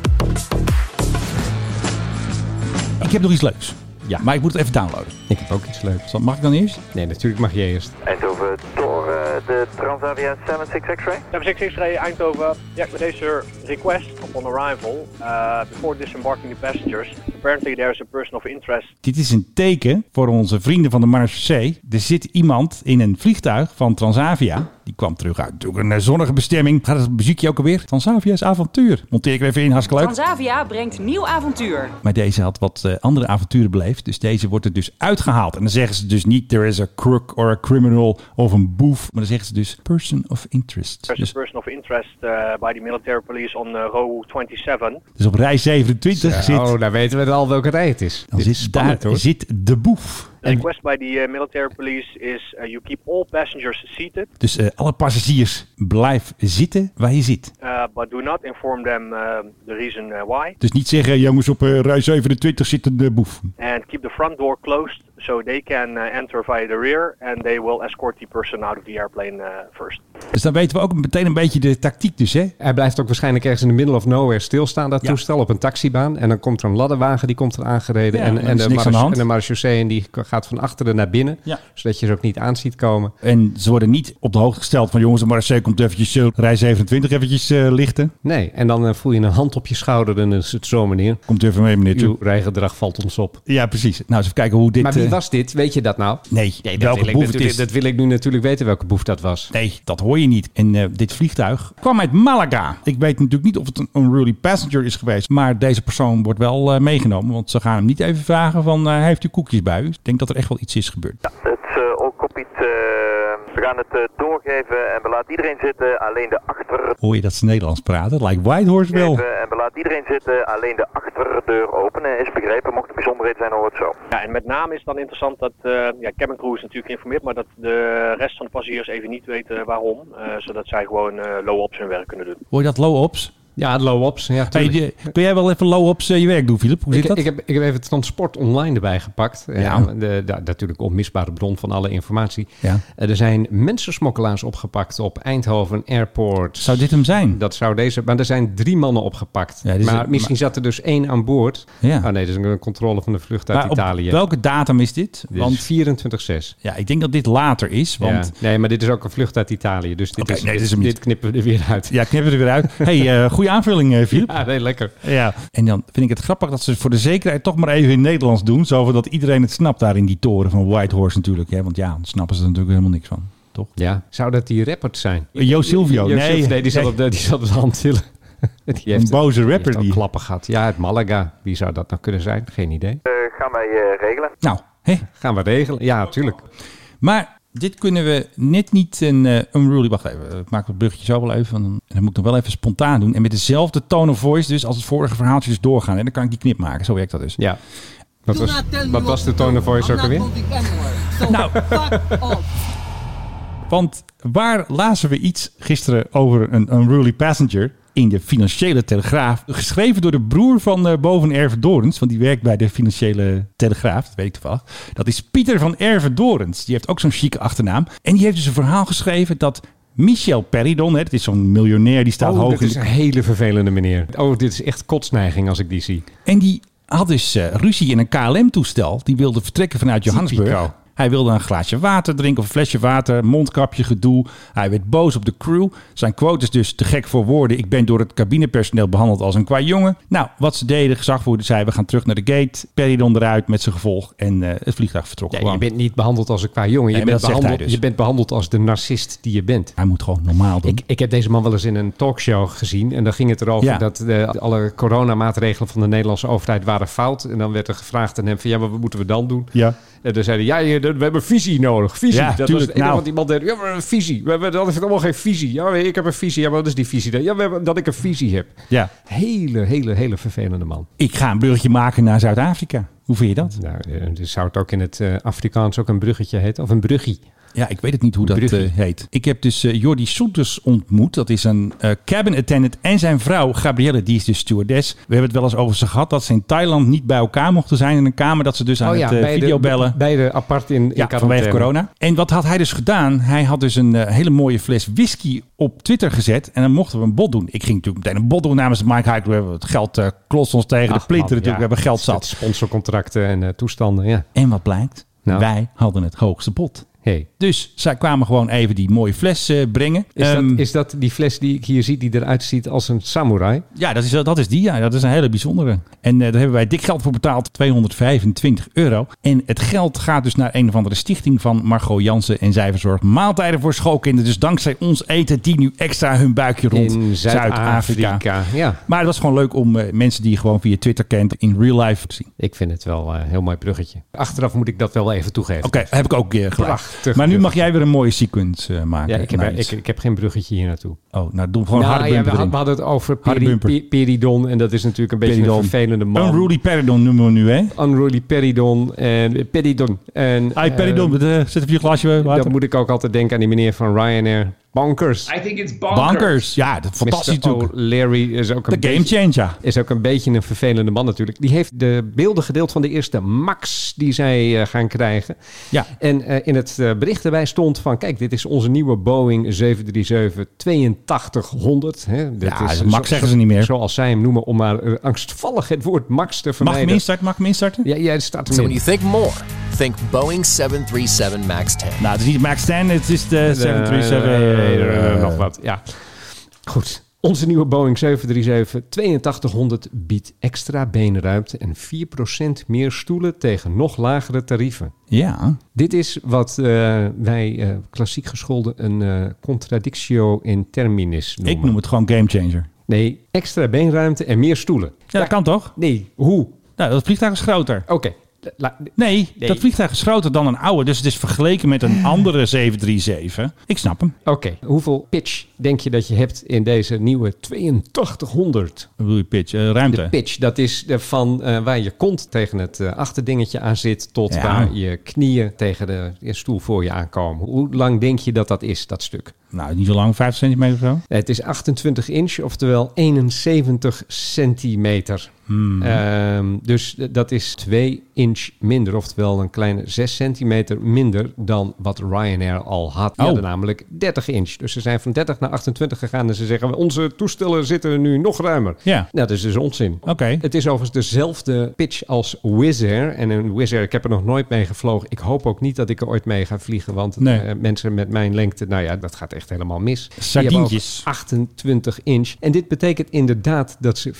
Ik heb nog iets leuks. Ja. Maar ik moet het even downloaden. Ik heb ook iets leuks. Zal- Mag ik dan eerst? Nee, natuurlijk mag je eerst. Eindhoven, door eh, de Transavia 76 X-ray. 766 Ray Eindhoven. Yeah, with this uh, request upon arrival, uh, before disembarking the passengers, apparently there's a person of interest Dit is een teken voor onze vrienden van de Marseille. Er zit iemand in een vliegtuig van Transavia. Die kwam terug uit natuurlijk een eh, zonnige bestemming. Gaat het muziekje ook alweer? Transavia's avontuur. Monteer ik er even in, hartstikke leuk. Transavia brengt nieuw avontuur. Maar deze had wat eh, andere avonturen beleefd. Dus deze wordt er dus uitgehaald. En dan zeggen ze dus niet... there is a crook or a criminal of een boef. Maar dan zeggen ze dus person of interest. There's Dus, a person of interest uh, by the military police on uh, row 27. dus op rij 27 zit... Oh, daar weten we al welke rij het is. Dan Dit is zit, daar spannend, hoor. zit de boef. The request by the uh, military police is uh, you keep all passengers seated, Dus eh, alle passagiers, blijf zitten waar je zit. uh, but do not inform them um, the reason uh, why, Dus niet zeggen, jongens, op eh, rij 27 zit een eh, boef. and keep the front door closed so they can uh, enter via the rear, and they will escort the person out of the airplane uh, first. Dus dan weten we ook meteen een beetje de tactiek dus, hè? Hij blijft ook waarschijnlijk ergens in de middle of nowhere stilstaan, dat Ja. toestel, op een taxibaan. En dan komt er een ladderwagen, die komt er aangereden. Ja, en, maar en, er is de niks aan de marech- hand. en de marechaussee, en die gaat van achteren naar binnen. Ja. Zodat je ze ook niet aan ziet komen. En ze worden niet op de hoogte gesteld van, jongens, de Marseille komt eventjes eh, rij 27 eventjes eh, lichten. Nee, en dan eh, voel je een hand op je schouder en dan is het zo meneer. Komt u even mee, meneer. Uw Toe. rijgedrag valt ons op. Ja, precies. Nou, eens even kijken hoe dit... Maar wie eh, was dit? Weet je dat nou? Nee, dat welke wil, ik boef het natuurlijk- is. dat wil ik nu natuurlijk weten welke boef dat was. Nee, dat hoor je niet. En eh, dit vliegtuig kwam uit Malaga. Ik weet natuurlijk niet of het een unruly passenger is geweest. Maar deze persoon wordt wel eh, meegenomen. Want ze gaan hem niet even vragen van, eh, heeft u koekjes bij u? Ik denk dat er echt wel iets is gebeurd. Het is ook op iets. we gaan het eh, doorgeven en we laten iedereen zitten. Alleen de achterdeur Hoor je dat ze Nederlands praten? Lijkt Whitehorse wel. eh, open en we laten iedereen zitten. Alleen de achterdeur openen is begrepen. Mocht er bijzonderheden zijn, hoor het zo. Ja, en met name is het dan interessant dat eh ja, cabin crew is natuurlijk geïnformeerd, maar dat de rest van de passagiers even niet weten waarom, eh, zodat zij gewoon eh, low op hun werk kunnen doen. Hoor je dat low-ops? Ja, low-ops. Ja, Hey, tuurlijk. die- kun jij wel even low-ops eh, je werk doen, Filip? Hoe zit ik, dat? Ik heb, ik heb even transport online erbij gepakt. Eh, Ja. de, de- natuurlijk onmisbare bron van alle informatie. Ja. Eh, er zijn mensensmokkelaars opgepakt op Eindhoven Airport. Zou dit hem zijn? Dat zou deze... Maar er zijn drie mannen opgepakt. Ja, dit is- maar misschien zat er dus één aan boord. Ja. Oh nee, dat is een controle van de vlucht uit Maar op Italië. welke datum is dit? Want Want 24-6. ja, ik denk dat dit later is. Want Ja. Nee, maar dit is ook een vlucht uit Italië. Dus dit, Oké, is, nee, dit dit, is hem niet. knippen we er weer uit. Ja, knip het er weer uit. hey, eh, goede aanvulling, eh, Filip. Ah, nee, lekker. Ja. En dan vind ik het grappig dat ze voor de zekerheid toch maar even in het Nederlands doen. Zodat iedereen het snapt daar in die toren van Whitehorse natuurlijk. Hè? Want ja, dan snappen ze er natuurlijk helemaal niks van. Toch? Ja. Zou dat die rappers zijn? Jo Eh, Silvio. Joost nee, Silvio, die, zat op de, die zat op de hand tillen. Die heeft- een boze die rapper heeft al die. klappen gehad. Ja, uit Malaga. Wie zou dat nou kunnen zijn? Geen idee. Eh, gaan wij eh, regelen. Nou, hè? Gaan we regelen? Ja, natuurlijk. Maar dit kunnen we net niet een eh unruly... Wacht even, ik maak het bruggetje zo wel even. want dan- En dat moet ik nog wel even spontaan doen. En met dezelfde tone of voice dus als het vorige verhaaltje dus doorgaan. En dan kan ik die knip maken. Zo werkt dat dus. Ja. Wat was, wat was de tone of voice ook alweer? Nou, want waar lazen we iets gisteren over een unruly passenger in de Financiële Telegraaf? Geschreven door de broer van eh, Boven Ervedorens, want die werkt bij de Financiële Telegraaf, dat weet ik toevallig. Dat is Pieter van Ervedorens, die heeft ook zo'n chique achternaam. En die heeft dus een verhaal geschreven dat Michel Peridon, hè, dat is zo'n miljonair die staat Oh, hoog dit in is de een hele vervelende meneer. Oh, dit is echt kotsneiging als ik die zie. En die had dus eh, ruzie in een KLM-toestel. Die wilde vertrekken vanuit Johannesburg. Typico. Hij wilde een glaasje water drinken of een flesje water, mondkapje, gedoe. Hij werd boos op de crew. Zijn quote is dus te gek voor woorden. Ik ben door het cabinepersoneel behandeld als een kwajongen. Nou, wat ze deden, gezagvoerder zei, we gaan terug naar de gate. Peridon eruit met zijn gevolg en eh, het vliegtuig vertrok Ja, je gewoon. bent niet behandeld als een qua jongen. Nee, Je, maar dat bent zegt hij behandeld, dus. je bent behandeld als de narcist die je bent. Hij moet gewoon normaal doen. Ik, ik heb deze man wel eens in een talkshow gezien. En dan ging het erover Ja. dat eh, alle coronamaatregelen van de Nederlandse overheid waren fout. En dan werd er gevraagd aan hem van ja, maar wat moeten we dan doen? Ja. En dan zeiden ja, je- we hebben visie nodig. Visie. Ja, dat was tuurlijk. het enige Nou. wat iemand deed. Ja, we hebben een visie. We hebben dat heeft allemaal geen visie. Ja, ik heb een visie. Ja, maar wat is die visie dan? Ja, we hebben, dat ik een visie heb. Ja. Hele, hele, hele vervelende man. Ik ga een bruggetje maken naar Zuid-Afrika. Hoe vind je dat? Nou, eh, dus zou het ook in het eh, Afrikaans ook een bruggetje heten? Of een bruggie? Ja, ik weet het niet hoe dat Brugge. eh, heet. Ik heb dus eh, Jordi Soeters ontmoet. Dat is een eh, cabin attendant. En zijn vrouw, Gabrielle, die is dus stewardess. We hebben het wel eens over ze gehad dat ze in Thailand niet bij elkaar mochten zijn in een kamer. Dat ze dus aan Oh het eh, videobellen. Beide apart in, in ja, vanwege quarantaine. corona. En wat had hij dus gedaan? Hij had dus een eh, hele mooie fles whisky op Twitter gezet. En dan mochten we een bod doen. Ik ging natuurlijk meteen een bod doen namens Mike Hike. We hebben het geld eh klost ons tegen de Ach, man, plinter natuurlijk. ja. We hebben geld Het zat. Sponsorcontracten en eh, toestanden, ja. En wat blijkt? Nou. Wij hadden het hoogste bod. Hey. Dus zij kwamen gewoon even die mooie fles eh, brengen. Is, Ehm, dat, is dat die fles die ik hier zie, die eruit ziet als een samurai? Ja, dat is, dat is die. Ja, dat is een hele bijzondere. En eh, daar hebben wij dik geld voor betaald. 225 euro. En het geld gaat dus naar een of andere stichting van Margot Jansen. En zij verzorgt maaltijden voor schoolkinderen. Dus dankzij ons eten die nu extra hun buikje rond in Zuid-Afrika. Zuid-Afrika. ja, maar het was gewoon leuk om eh, mensen die je gewoon via Twitter kent in real life te zien. ik vind het wel eh, een heel mooi bruggetje. Oh, Achteraf moet ik dat wel even toegeven. Oké, heb ik ook eh, gelijk. Prachtig. Maar nu mag jij weer een mooie sequence eh, maken. Ja, ik heb, naar ik, iets. ik heb geen bruggetje hier naartoe. oh, nou doe gewoon Nou, harde ja, we, bumper had- erin. we hadden het over Harde peri- bumper. pe- Peridon. En dat is natuurlijk een beetje Peridon. een vervelende man. Unruly Peridon noemen we nu, hè? Unruly Peridon. En Peridon. En, Hey, Peridon, eh, eh, zet even je glasje water. dan moet ik ook altijd denken aan die meneer van Ryanair. Bankers. I think it's bonkers. Bankers. Ja, dat, fantastisch natuurlijk. Larry is ook een De game beetje- changer. is ook een beetje een vervelende man natuurlijk. Die heeft de beelden gedeeld van de eerste Max die zij eh, gaan krijgen. Ja. En eh, in het eh, bericht erbij stond van... kijk, dit is onze nieuwe Boeing 737-8200. Hè, dat Ja, Max zeggen ze niet meer. Zoals zij hem noemen, om maar eh, angstvallig het woord Max te Mag ik vermijden. hem instarten? Mag ik hem instarten? Ja, ja, het staat er in. think more, think Boeing 737 MAX 10. Nou, het is niet Max 10, het is de Eh, eh, 737. nog wat, ja. Goed. Onze nieuwe Boeing 737-8200 biedt extra beenruimte en 4% meer stoelen tegen nog lagere tarieven. Ja. Dit is wat eh, wij eh, klassiek gescholden een eh, contradictio in terminis noemen. Ik noem het gewoon game changer. Nee, extra beenruimte en meer stoelen. Ja, dat kan toch? Nee, hoe? Nou, dat vliegtuig is groter. Oké. La- Nee, Nee. dat vliegtuig is groter dan een oude. Dus het is vergeleken met een andere 737. Ik snap hem. Oké, hoeveel pitch denk je dat je hebt in deze nieuwe 8200? Wat bedoel je pitch? Eh, ruimte? De pitch, dat is de van eh, waar je kont tegen het eh, achterdingetje aan zit... tot Ja. waar je knieën tegen de je stoel voor je aankomen. Hoe lang denk je dat dat is, dat stuk? Nou, niet zo lang, 5 centimeter of zo. Het is 28 inch, oftewel 71 centimeter. Hmm. Ehm, dus d- dat is 2 inch minder, oftewel een kleine 6 centimeter minder dan wat Ryanair al had. Die Oh. hadden namelijk 30 inch. Dus ze zijn van 30 naar 28 gegaan en ze zeggen onze toestellen zitten nu nog ruimer. Ja. Nou, dat is dus onzin. Oké. Het is overigens dezelfde pitch als Wizz Air. En een Wizz Air, ik heb er nog nooit mee gevlogen. Ik hoop ook niet dat ik er ooit mee ga vliegen. Want Nee. eh, mensen met mijn lengte, nou ja, dat gaat echt helemaal mis. Die Sardientjes. hebben ook 28 inch. En dit betekent inderdaad dat ze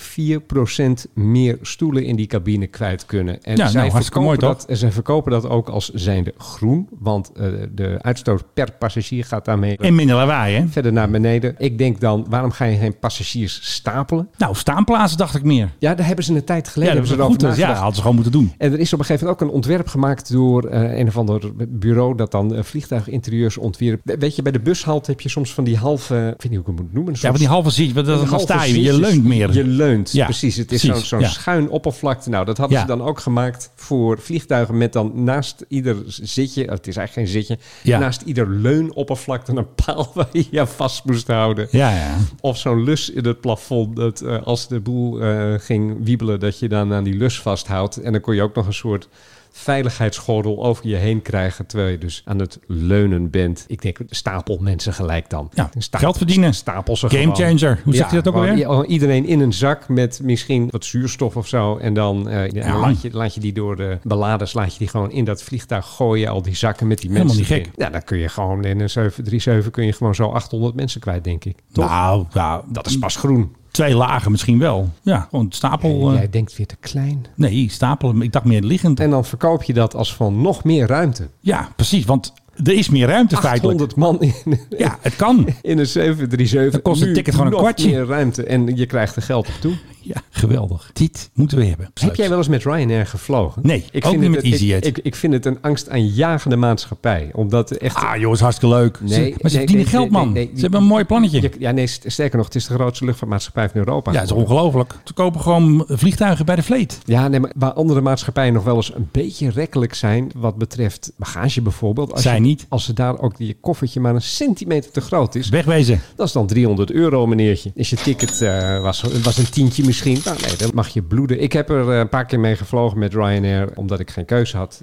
4% meer stoelen in die cabine kwijt kunnen. En Ja, nou, zij, hartstikke verkopen mooi, dat, en zij verkopen dat ook als zijnde groen. Want eh, de uitstoot per passagier gaat daarmee En minder lawaai, hè? verder naar beneden. Ik denk dan, waarom ga je geen passagiers stapelen? Nou, staanplaatsen dacht ik meer. Ja, daar hebben ze een tijd Ja, geleden dat hebben was ze goed. erover Dat, ja, nagedacht. hadden ze gewoon moeten doen. En er is op een gegeven moment ook een ontwerp gemaakt door eh, een of ander bureau dat dan eh, vliegtuiginterieurs ontwierp. We- Weet je, bij de bushalte heb je soms van die halve, ik weet niet hoe ik het moet noemen. een Ja, soort- van die halve zit, want dan een gaan halve sta je, je zitjes. leunt meer. Je leunt, Ja, precies. Het is zo'n precies, zo'n ja. schuin oppervlakte. Nou, dat hadden Ja. ze dan ook gemaakt voor vliegtuigen met dan naast ieder zitje, het is eigenlijk geen zitje, Ja. naast ieder leunoppervlakte een paal waar je je vast moest houden. Ja, ja. Of zo'n lus in het plafond. Dat eh, als de boel eh, ging wiebelen, dat je dan aan die lus vasthoudt. En dan kon je ook nog een soort veiligheidsgordel over je heen krijgen. Terwijl je dus aan het leunen bent. Ik denk, stapel mensen gelijk dan. Ja, Stapel- geld verdienen. Stapel ze Game gewoon. changer. Hoe zegt hij dat ook gewoon alweer? i- Iedereen in een zak met misschien wat zuurstof of zo. En dan eh, ja, Ja. laat, je, laat je die door de beladers, laat je die gewoon in dat vliegtuig gooien. Al die zakken met die mensen. Helemaal niet erin. Ja, dan kun je gewoon in een 737 kun je gewoon zo 800 mensen kwijt, denk ik. Toch? Nou, nou, Dat is pas groen. twee lagen misschien wel. Ja, gewoon stapel. eh, Jij denkt weer te klein. Nee, stapelen. Ik dacht meer liggend. En dan verkoop je dat als van nog meer ruimte. Ja, precies. Want er is meer ruimte feitelijk. 800 man in, Ja, het kan. in een 737. Dan kost een Nu ticket gewoon een nog kwartje. meer ruimte en je krijgt er geld op toe. Ja, geweldig. Dit moeten we hebben. Heb jij wel eens met Ryanair gevlogen? Nee, ook niet met het, ik- EasyJet. Ik, ik, vind het een angstaanjagende maatschappij. Omdat er echt... Ah, jongens, hartstikke leuk. Nee, Ze- maar ze nee, verdienen nee, geld, nee, man. nee, nee. ze hebben een mooi plannetje. je- ja, nee, st- sterker nog, het is de grootste luchtvaartmaatschappij van Europa. ja, het is ongelooflijk. Ze kopen gewoon vliegtuigen bij de vleet. Ja, nee, maar waar andere maatschappijen nog wel eens een beetje rekkelijk zijn wat betreft bagage bijvoorbeeld. Als Zij je- niet. Als ze daar ook je koffertje maar een centimeter te groot is. Wegwezen. Dat is dan 300 euro, meneertje. Is je ticket eh, was, was een tientje misschien? Nou, nee, dan mag je bloeden. Ik heb er eh, een paar keer mee gevlogen met Ryanair, omdat ik geen keuze had.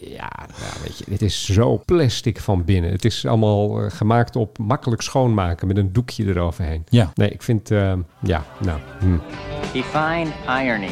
ja, nou, weet je, dit is zo plastic van binnen. Het is allemaal eh, gemaakt op makkelijk schoonmaken met een doekje eroverheen. Ja. Nee, ik vind, eh, ja, nou. hm. Define irony.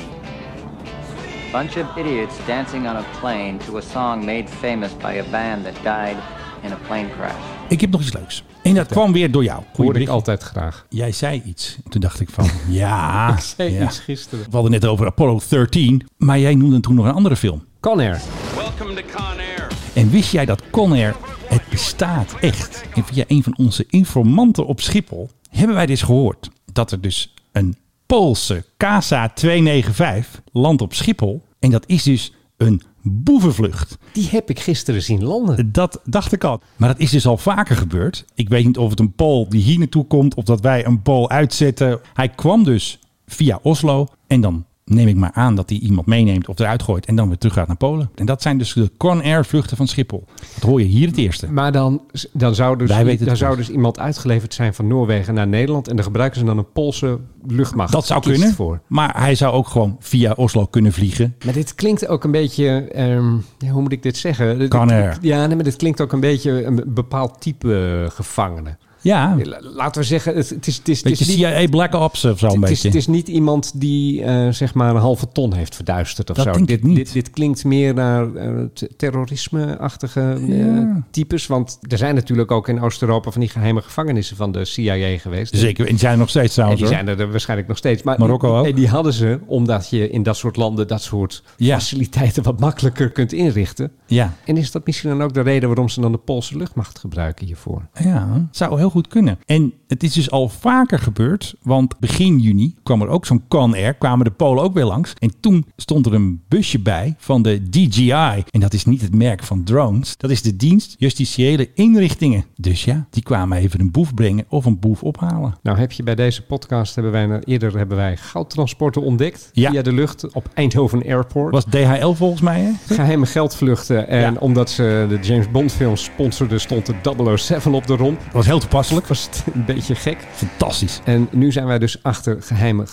Bunch of idiots dancing on a plane to a song made famous by a band that died in a plane crash. Ik heb nog iets leuks. En dat kwam weer door jou. Hoor Goeie ik bericht. altijd graag. Jij zei iets. Toen dacht ik van, ja. ik zei iets gisteren. We hadden net over Apollo 13. Maar jij noemde toen nog een andere film. Conair. Welcome to Con Air. En wist jij dat Conair, het bestaat echt. En via een van onze informanten op Schiphol hebben wij dus gehoord dat er dus een Poolse Kasa 295 landt op Schiphol. En dat is dus een boevenvlucht. Die heb ik gisteren zien landen. Dat dacht ik al. Maar dat is dus al vaker gebeurd. Ik weet niet of het een Pool die hier naartoe komt of dat wij een Pool uitzetten. Hij kwam dus via Oslo en dan neem ik maar aan dat hij iemand meeneemt of eruit gooit en dan weer terug gaat naar Polen. En dat zijn dus de Conair vluchten van Schiphol. Dat hoor je hier het eerste. Maar dan, dan, zou, dus, Wij weten het dan zou goed. dus iemand uitgeleverd zijn van Noorwegen naar Nederland. En dan gebruiken ze dan een Poolse luchtmacht. Dat zou Kiest kunnen, Voor. maar hij zou ook gewoon via Oslo kunnen vliegen. Maar dit klinkt ook een beetje, ehm, ja, hoe moet ik dit zeggen? Dit- Kan er. dit- Ja, nee, maar dit klinkt ook een beetje een bepaald type eh, gevangene. Ja, La- Laten we zeggen, het, het is, het is, het beetje is niet... CIA Black Ops of zo een Het is, beetje. het is niet iemand die eh, zeg maar een halve ton heeft verduisterd of Dat zo. denk ik dit, niet. Dit, dit klinkt meer naar eh, t- terrorisme-achtige eh, Ja. types. Want er zijn natuurlijk ook in Oost-Europa van die geheime gevangenissen van de CIA geweest. Zeker, en die zijn er nog steeds En trouwens die hoor. zijn er waarschijnlijk nog steeds. Maar Marokko ook. En die hadden ze, omdat je in dat soort landen dat soort Ja. faciliteiten wat makkelijker kunt inrichten. Ja. En is dat misschien dan ook de reden waarom ze dan de Poolse luchtmacht gebruiken hiervoor? ja, zou heel goed kunnen. En het is dus al vaker gebeurd, want begin juni kwam er ook zo'n Conair, kwamen de Polen ook weer langs. En toen stond er een busje bij van de DJI. En dat is niet het merk van drones, dat is de dienst justitiële inrichtingen. Dus ja, die kwamen even een boef brengen of een boef ophalen. Nou heb je bij deze podcast, hebben wij, nou, eerder hebben wij goudtransporten ontdekt Ja. via de lucht op Eindhoven Airport. Was DHL volgens mij, hè? Geheime geldvluchten. En Ja. omdat ze de James Bond film sponsorden, stond de 007 op de romp. Was heel toepasselijk. Was het een beetje gek. Fantastisch. En nu zijn wij dus achter geheime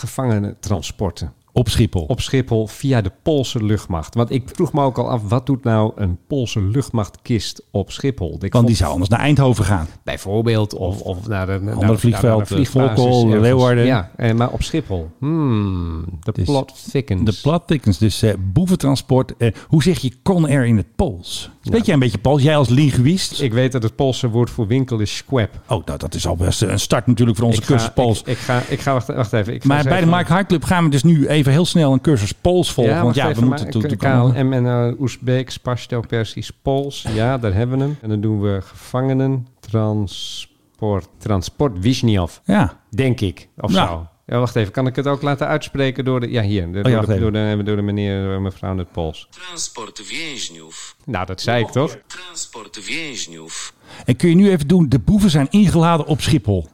gevangenentransporten. Op Schiphol. Op Schiphol via de Poolse luchtmacht. Want ik vroeg me ook al af, wat doet nou een Poolse luchtmachtkist op Schiphol? Ik Want vond- die zou anders naar Eindhoven gaan. Bijvoorbeeld, of, of naar de naar- Ander vliegveld, naar de vliegbasis Volkel, ergens. Leeuwarden. Ja, eh, maar op Schiphol. Hmm, de Dus- plot thickens. De plat thickens, dus eh, boeventransport. Eh, hoe zeg je Conair in het Pools? Weet jij een beetje Pools? Jij als linguïst? Ik weet dat het Poolse woord voor winkel is squab. Oh, nou, dat is al best een start natuurlijk voor onze Ik ga- cursus Pools. Ik, ik ga, ik ga wacht, wacht even. Ik ga maar eens bij de even- Mark Hart Club gaan we dus nu even heel snel een cursus Pools volgen. want wacht ja, we even, moeten maar toe- K- toe komen. KLM en eh, Oezbeeks, Pashto, Persisch, Pools. Ja, daar hebben we hem. En dan doen we gevangenen, transport, transport Wisniewski. Ja, Denk ik, of Ja. zo. Ja, wacht even, kan ik het ook laten uitspreken door de... Ja, hier, de- Nou. Oh ja, door, wacht de, even. door, de, door de meneer eh, mevrouw in het Pools. Transport więźniów. Nou, dat zei ik toch? Transport więźniów. en kun je nu even doen, de boeven zijn ingeladen op Schiphol.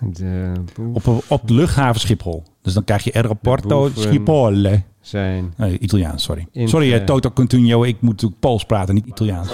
De boeven op, op de luchthaven Schiphol. Dus dan krijg je Aeroporto boeven- Schiphol. zijn... Nee, Italiaans, sorry. In- sorry, eh, eh, Toto Continuo. Ik moet natuurlijk Pools praten, niet Italiaans.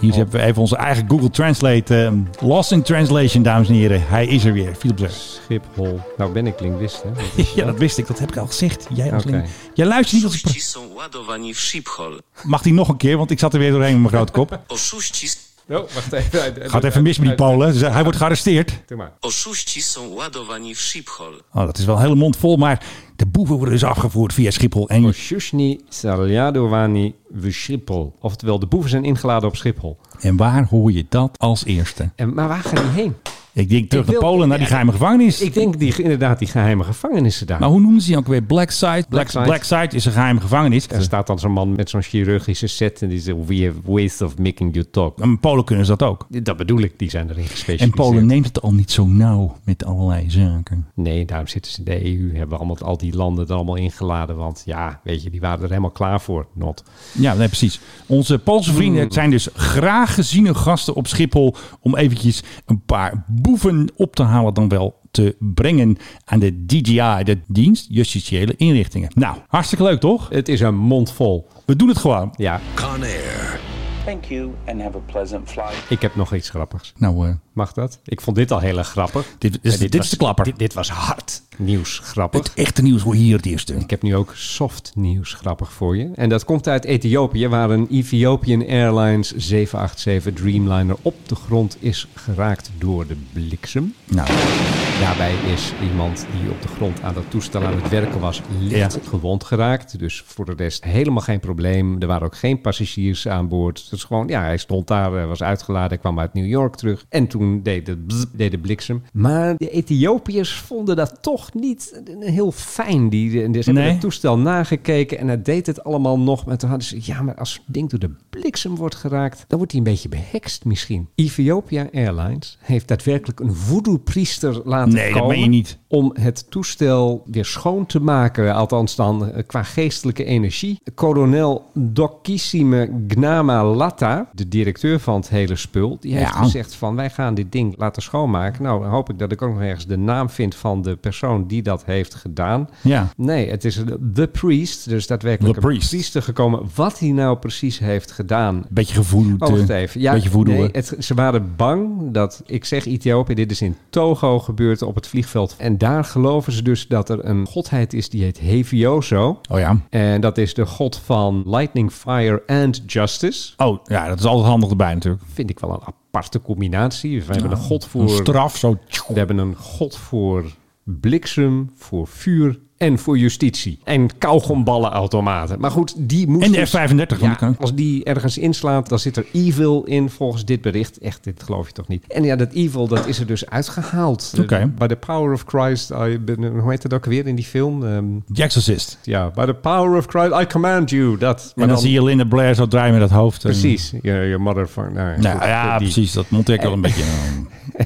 Hier hebben we even onze eigen Google Translate. eh, lost in Translation, dames en heren. Hij is er weer, Philip Zerk. Schiphol. Nou ben ik linguist, hè? Oh, Dat is- Ja, dat wist ik. Dat heb ik al gezegd. Jij, als Oké. link- Jij luistert niet als... ik Oszuści są ładowani w Schiphol. pra- Mag die nog een keer? Want ik zat er weer doorheen met mijn grote kop. Oszuści, Oh, wacht even. Gaat even mis met die Polen. Ze- Hij wordt gearresteerd. Doe maar. oszuści są ładowani w Schiphol. Oh, dat is wel een hele mond vol. Maar de boeven worden dus afgevoerd via Schiphol. En Shushni Saljadovani Schiphol. Oftewel, de boeven zijn ingeladen op Schiphol. En waar hoor je dat als eerste? En, maar waar gaan die heen? Ik denk terug Ik wil- naar Polen, naar die Ja, geheime gevangenis. Ik denk die, inderdaad die geheime gevangenissen daar. maar hoe noemen ze die ook weer? Black Side? Black, Side. Black Side is een geheime gevangenis. er staat dan zo'n man met zo'n chirurgische set en die zegt... We have ways of making you talk. En Polen kunnen ze dat ook. Dat bedoel ik, die zijn erin En gespecialiseerd. Polen neemt het al niet zo nauw met allerlei zaken. Nee, daarom zitten ze in de EU. Hebben allemaal al die landen er allemaal ingeladen. Want ja, weet je, die waren er helemaal klaar voor. Not. Ja, nee, precies. Onze Poolse vrienden Hmm. zijn dus graag geziene gasten op Schiphol om eventjes een paar boeven op te halen dan wel te brengen aan de DJI, de dienst justitiële inrichtingen. Nou, hartstikke leuk toch? Het is een mond vol. We doen het gewoon. Ja, Conair. Thank you and have a pleasant flight. ik heb nog iets grappigs. Nou, eh, Mag dat? Ik vond dit al heel erg grappig. dit, dit, Maar is- dit was- is de klapper. Dit, dit was hard nieuws grappig. Het echte nieuws hoor je hier het eerste. Ik heb nu ook soft nieuws grappig voor je. En dat komt uit Ethiopië, waar een Ethiopian Airlines 787 Dreamliner op de grond is geraakt door de bliksem. Nou, Daarbij is iemand die op de grond aan dat toestel aan het werken was, licht gewond geraakt. Dus voor de rest helemaal geen probleem. Er waren ook geen passagiers aan boord. Dus gewoon, ja, hij stond daar, hij was uitgeladen, hij kwam uit New York terug. En toen deed de, bzz, deed de bliksem. Maar de Ethiopiërs vonden dat toch niet heel fijn. Die, die- ze hebben Nee. het toestel nagekeken en hij deed het allemaal nog. Maar toen hadden ze, ja, maar als het ding door de bliksem wordt geraakt, dan wordt hij een beetje behekst misschien. Ethiopia Airlines heeft daadwerkelijk een voodoo-priester laten Nee, dat komen meen je niet. om het toestel weer schoon te maken, althans dan eh, qua geestelijke energie. Coronel Dokissime Gnama Latta, de directeur van het hele spul, die heeft Ja. gezegd van wij gaan dit ding laten schoonmaken. Nou, dan hoop ik dat ik ook nog ergens de naam vind van de persoon die dat heeft gedaan. ja. Nee, het is de- de priest, dus daadwerkelijk The een priest. priester gekomen. Wat hij nou precies heeft gedaan, Beetje gevoeld. Oh, wacht eh, even. Ja, beetje voedoe. nee, het- ze waren bang dat, ik zeg Ethiopië, dit is in Togo gebeurd op het vliegveld. En daar geloven ze dus dat er een godheid is die heet Hevioso. oh ja. En dat is de god van lightning, fire and justice. Oh, ja, dat is altijd handig erbij natuurlijk. Vind ik wel een aparte combinatie. We hebben een god Een voor... straf, zo. We hebben een god voor bliksem, voor vuur en voor justitie. En kauwgomballenautomaten. Maar goed, die moest... dus- En de F-35 van de kant. Als die ergens inslaat, dan zit er evil in volgens dit bericht. Echt, dit geloof je toch niet. En ja, dat evil, dat is er dus uitgehaald. Oké. By the power of Christ, I, hoe heet dat ook weer in die film? Ehm, The Exorcist. ja, by the power of Christ, I command you. Dat. en dan, zie je Linda Blair zo draaien met dat hoofd. En- Precies, je, je motherfucker. Nou, Nou goed, ja, die- precies. Dat monteer ik al een beetje. eh,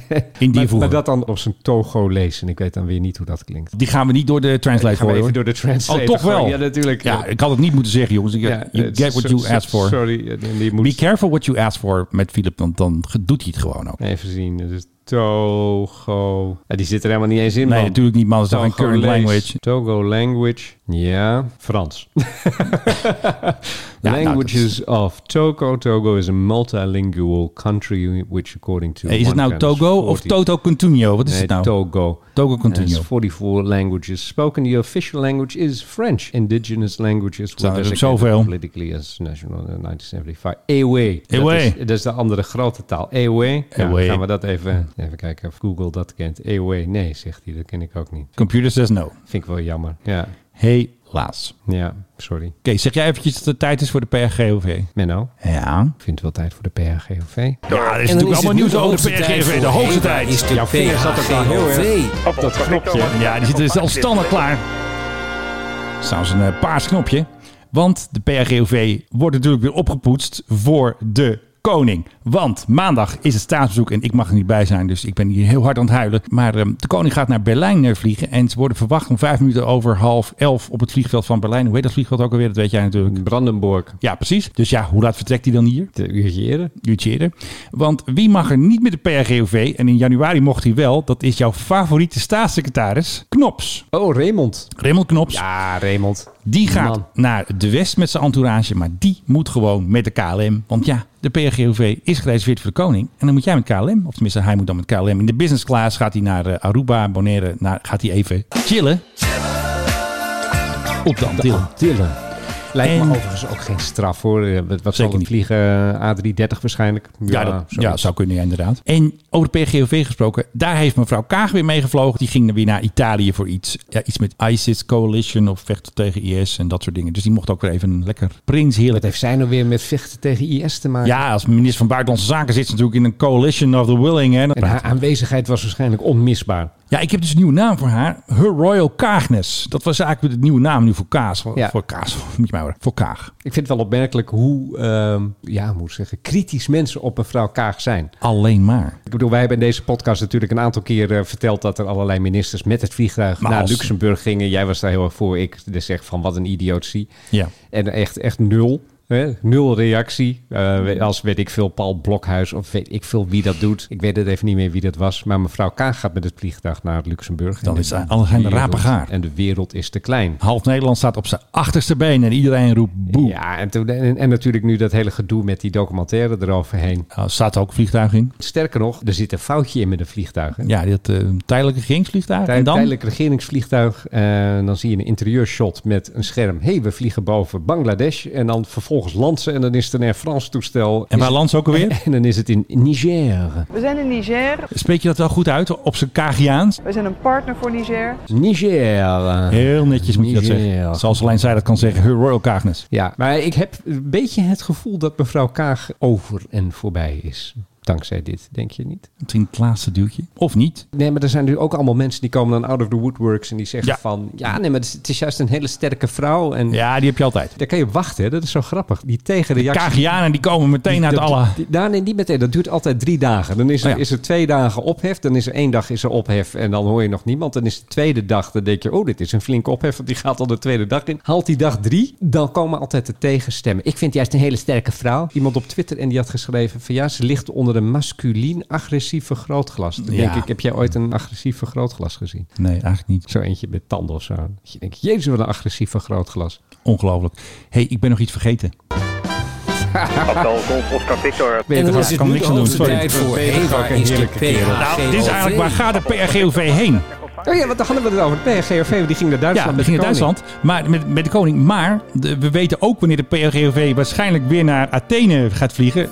In die Maar- voegen. Maar dat dan op zijn togo lezen. Ik weet dan weer niet hoe dat klinkt. Die gaan we niet door de translate Die gaan we gooien, even hoor. door de translate Oh, toch gooien. wel? Ja, natuurlijk. Ja, Ja. ik had het niet moeten zeggen, jongens. Ik, eh, Ja, you het- get what you so- asked for. Sorry, eh, die moet Be careful what you ask for met Philip, want dan ge- doet hij het gewoon ook. even zien. Dus Togo. Ja, die zit er helemaal niet eens in. Nee, man. natuurlijk niet, man. Dat is toch een current Togolees. language. Togo language. Ja, Frans. Ja, nou, Languages of Togo. Togo is a multilingual country which according to... Hey, is het one nou kind is Togo of 40. Toto Continuo? Wat is Nee, het nou? Togo. Togo And Continuo. it's 44 languages spoken. The official language is French. Indigenous languages were Zijn er designated zoveel. politically as national in 1975. Ewe. Ewe. Dat, is, dat is de andere grote taal. Ewe. Ewe. Ja, gaan we dat even, even kijken of Google dat kent. Ewe. Nee, zegt hij. Dat ken ik ook niet. Computer says no. Vind ik wel jammer. Ja. Helaas. Oké, Ja, sorry. zeg jij eventjes dat het tijd is voor de PRGOV? Menno, Ja. ik vind het wel tijd voor de PRGOV. Ja, er is En dan is natuurlijk allemaal het nieuws nu de over de hoogste tijd PRGOV. De voor hoogste Eva tijd. is de Jouw vinger zat ook al heel erg PHGOV. op dat knopje. Ja, die zit er zelf standaard klaar. Trouwens een eh, paars knopje. Want de PRGOV wordt natuurlijk weer opgepoetst voor de koning. Want maandag is het staatsbezoek en ik mag er niet bij zijn. Dus ik ben hier heel hard aan het huilen. Maar ehm, de koning gaat naar Berlijn eh, vliegen. En ze worden verwacht om vijf minuten over half elf op het vliegveld van Berlijn. Hoe heet dat vliegveld ook alweer? Dat weet jij natuurlijk. Brandenburg. Ja, precies. Dus ja, hoe laat vertrekt hij dan hier? De uurtje eerder. uurtje eerder. Want wie mag er niet met de PRGOV? En in januari mocht hij wel. Dat is jouw favoriete staatssecretaris, Knops. Oh, Raymond. Raymond Knops. Ja, Raymond. Die gaat Man. naar de West met zijn entourage, maar die moet gewoon met de KLM. Want ja, de PRGOV is gereserveerd voor de koning. En dan moet jij met KLM, of tenminste hij moet dan met KLM. In de business class gaat hij naar eh, Aruba, Bonaire, naar, gaat hij even chillen. Op de Antillen. Tillen. Lijkt En- me overigens ook geen straf hoor. Eh, Wat, wat zal Zeker het niet. vliegen? A330 waarschijnlijk. Ja, dat zoiets. ja, zou kunnen, ja, inderdaad. En over de PGOV gesproken, daar heeft mevrouw Kaag weer mee gevlogen. Die ging dan weer naar Italië voor iets. Ja, iets met ISIS Coalition of vechten tegen IS en dat soort dingen. Dus die mocht ook weer even een lekker prins heerlijk Wat heeft zij nou weer met vechten tegen IS te maken? Ja, als minister van Buitenlandse Zaken zit ze natuurlijk in een coalition of the willing. Hè. En haar aanwezigheid was waarschijnlijk onmisbaar. Ja, ik heb dus een nieuwe naam voor haar. Her Royal Kaagnes. Dat was eigenlijk de nieuwe naam nu voor Kaas. Voor, Ja. voor Kaas, moet je mij horen. Voor Kaag. Ik vind het wel opmerkelijk hoe, ehm, ja, hoe moet ik zeggen, kritisch mensen op mevrouw Kaag zijn. Alleen maar. Ik bedoel, wij hebben in deze podcast natuurlijk een aantal keer eh, verteld dat er allerlei ministers met het vliegtuig Maar naar als- Luxemburg gingen. Jij was daar heel erg voor. Ik dus zeg van wat een idiotie. Ja. En echt, echt nul. Hè? Nul reactie. Eh, we- als weet ik veel, Paul Blokhuis of weet ik veel wie dat doet. Ik weet het even niet meer wie dat was. Maar mevrouw Kaag gaat met het vliegtuig naar Luxemburg. Dan En is alles aan de wereld- rapen gaar. En de wereld is te klein. Half Nederland staat op zijn achterste been en iedereen roept boe. Ja, en, toen- en, en natuurlijk nu dat hele gedoe met die documentaire eroverheen. Nou, staat er ook een vliegtuig in? Sterker nog, er zit een foutje in met een vliegtuig. hè? Ja, dat eh, tijdelijke regeringsvliegtuig. Tij- en dan? Tijdelijk regeringsvliegtuig. En dan zie je een interieurshot met een scherm. hey, we vliegen boven Bangladesh. En dan vervolgens landen ze. En dan is het een Air France toestel. En waar Is- land ze ook alweer? En dan is het in Niger. We zijn in Niger. Spreek je dat wel goed uit op zijn Kaagiaans? We zijn een partner voor Niger. Niger. Heel netjes moet je dat Ja. zeggen. Zoals alleen zij dat kan zeggen. Her Royal Kaagnes. Ja, maar ik heb een beetje het gevoel dat mevrouw Kaag over en voorbij is. Dankzij dit, denk je niet? Misschien het laatste duwtje. Of niet. Nee, maar er zijn natuurlijk ook allemaal mensen die komen dan out of the woodworks en die zeggen Ja. van... Ja, nee, maar het is, het is juist een hele sterke vrouw en Ja, die heb je altijd. daar kan je op wachten. Hè? Dat is zo grappig. Die tegenreactie Kaagianen die komen meteen uit Dat- alle... die- nou, nee, niet meteen. Dat duurt altijd drie dagen. Dan is er, Oh ja. is er twee dagen ophef. Dan is er één dag is er ophef. En dan hoor je nog niemand. Dan is de tweede dag. Dan denk je, oh, dit is een flinke ophef. Want die gaat al de tweede dag in. Haalt die dag drie. Dan komen altijd de tegenstemmen. Ik vind juist een hele sterke vrouw. Iemand op Twitter en die had geschreven van... Ja, ze ligt onder een masculien agressieve grootglas. Dan denk Ja. ik, heb jij ooit een agressieve grootglas gezien? Nee, eigenlijk niet. Zo eentje met tanden of zo. Dat je denkt, jezus, wat een agressieve grootglas. Ongelooflijk. hey, ik ben nog iets vergeten. Hotel Golf Oscar Victor. Beter En dan gaan- is het kan nu niks de aan doen. hoogste Sorry. tijd voor Vind ik ook Eva een is de heerlijke kerel. PHGOV. Nou, dit is eigenlijk waar gaat de PRGOV heen? Oh ja, want daar hadden we het over. De PRGOV, die ging naar Duitsland Ja, we met gingen de koning. Duitsland, maar met, met de koning. Maar de- we weten ook wanneer de PRGOV waarschijnlijk weer naar Athene gaat vliegen.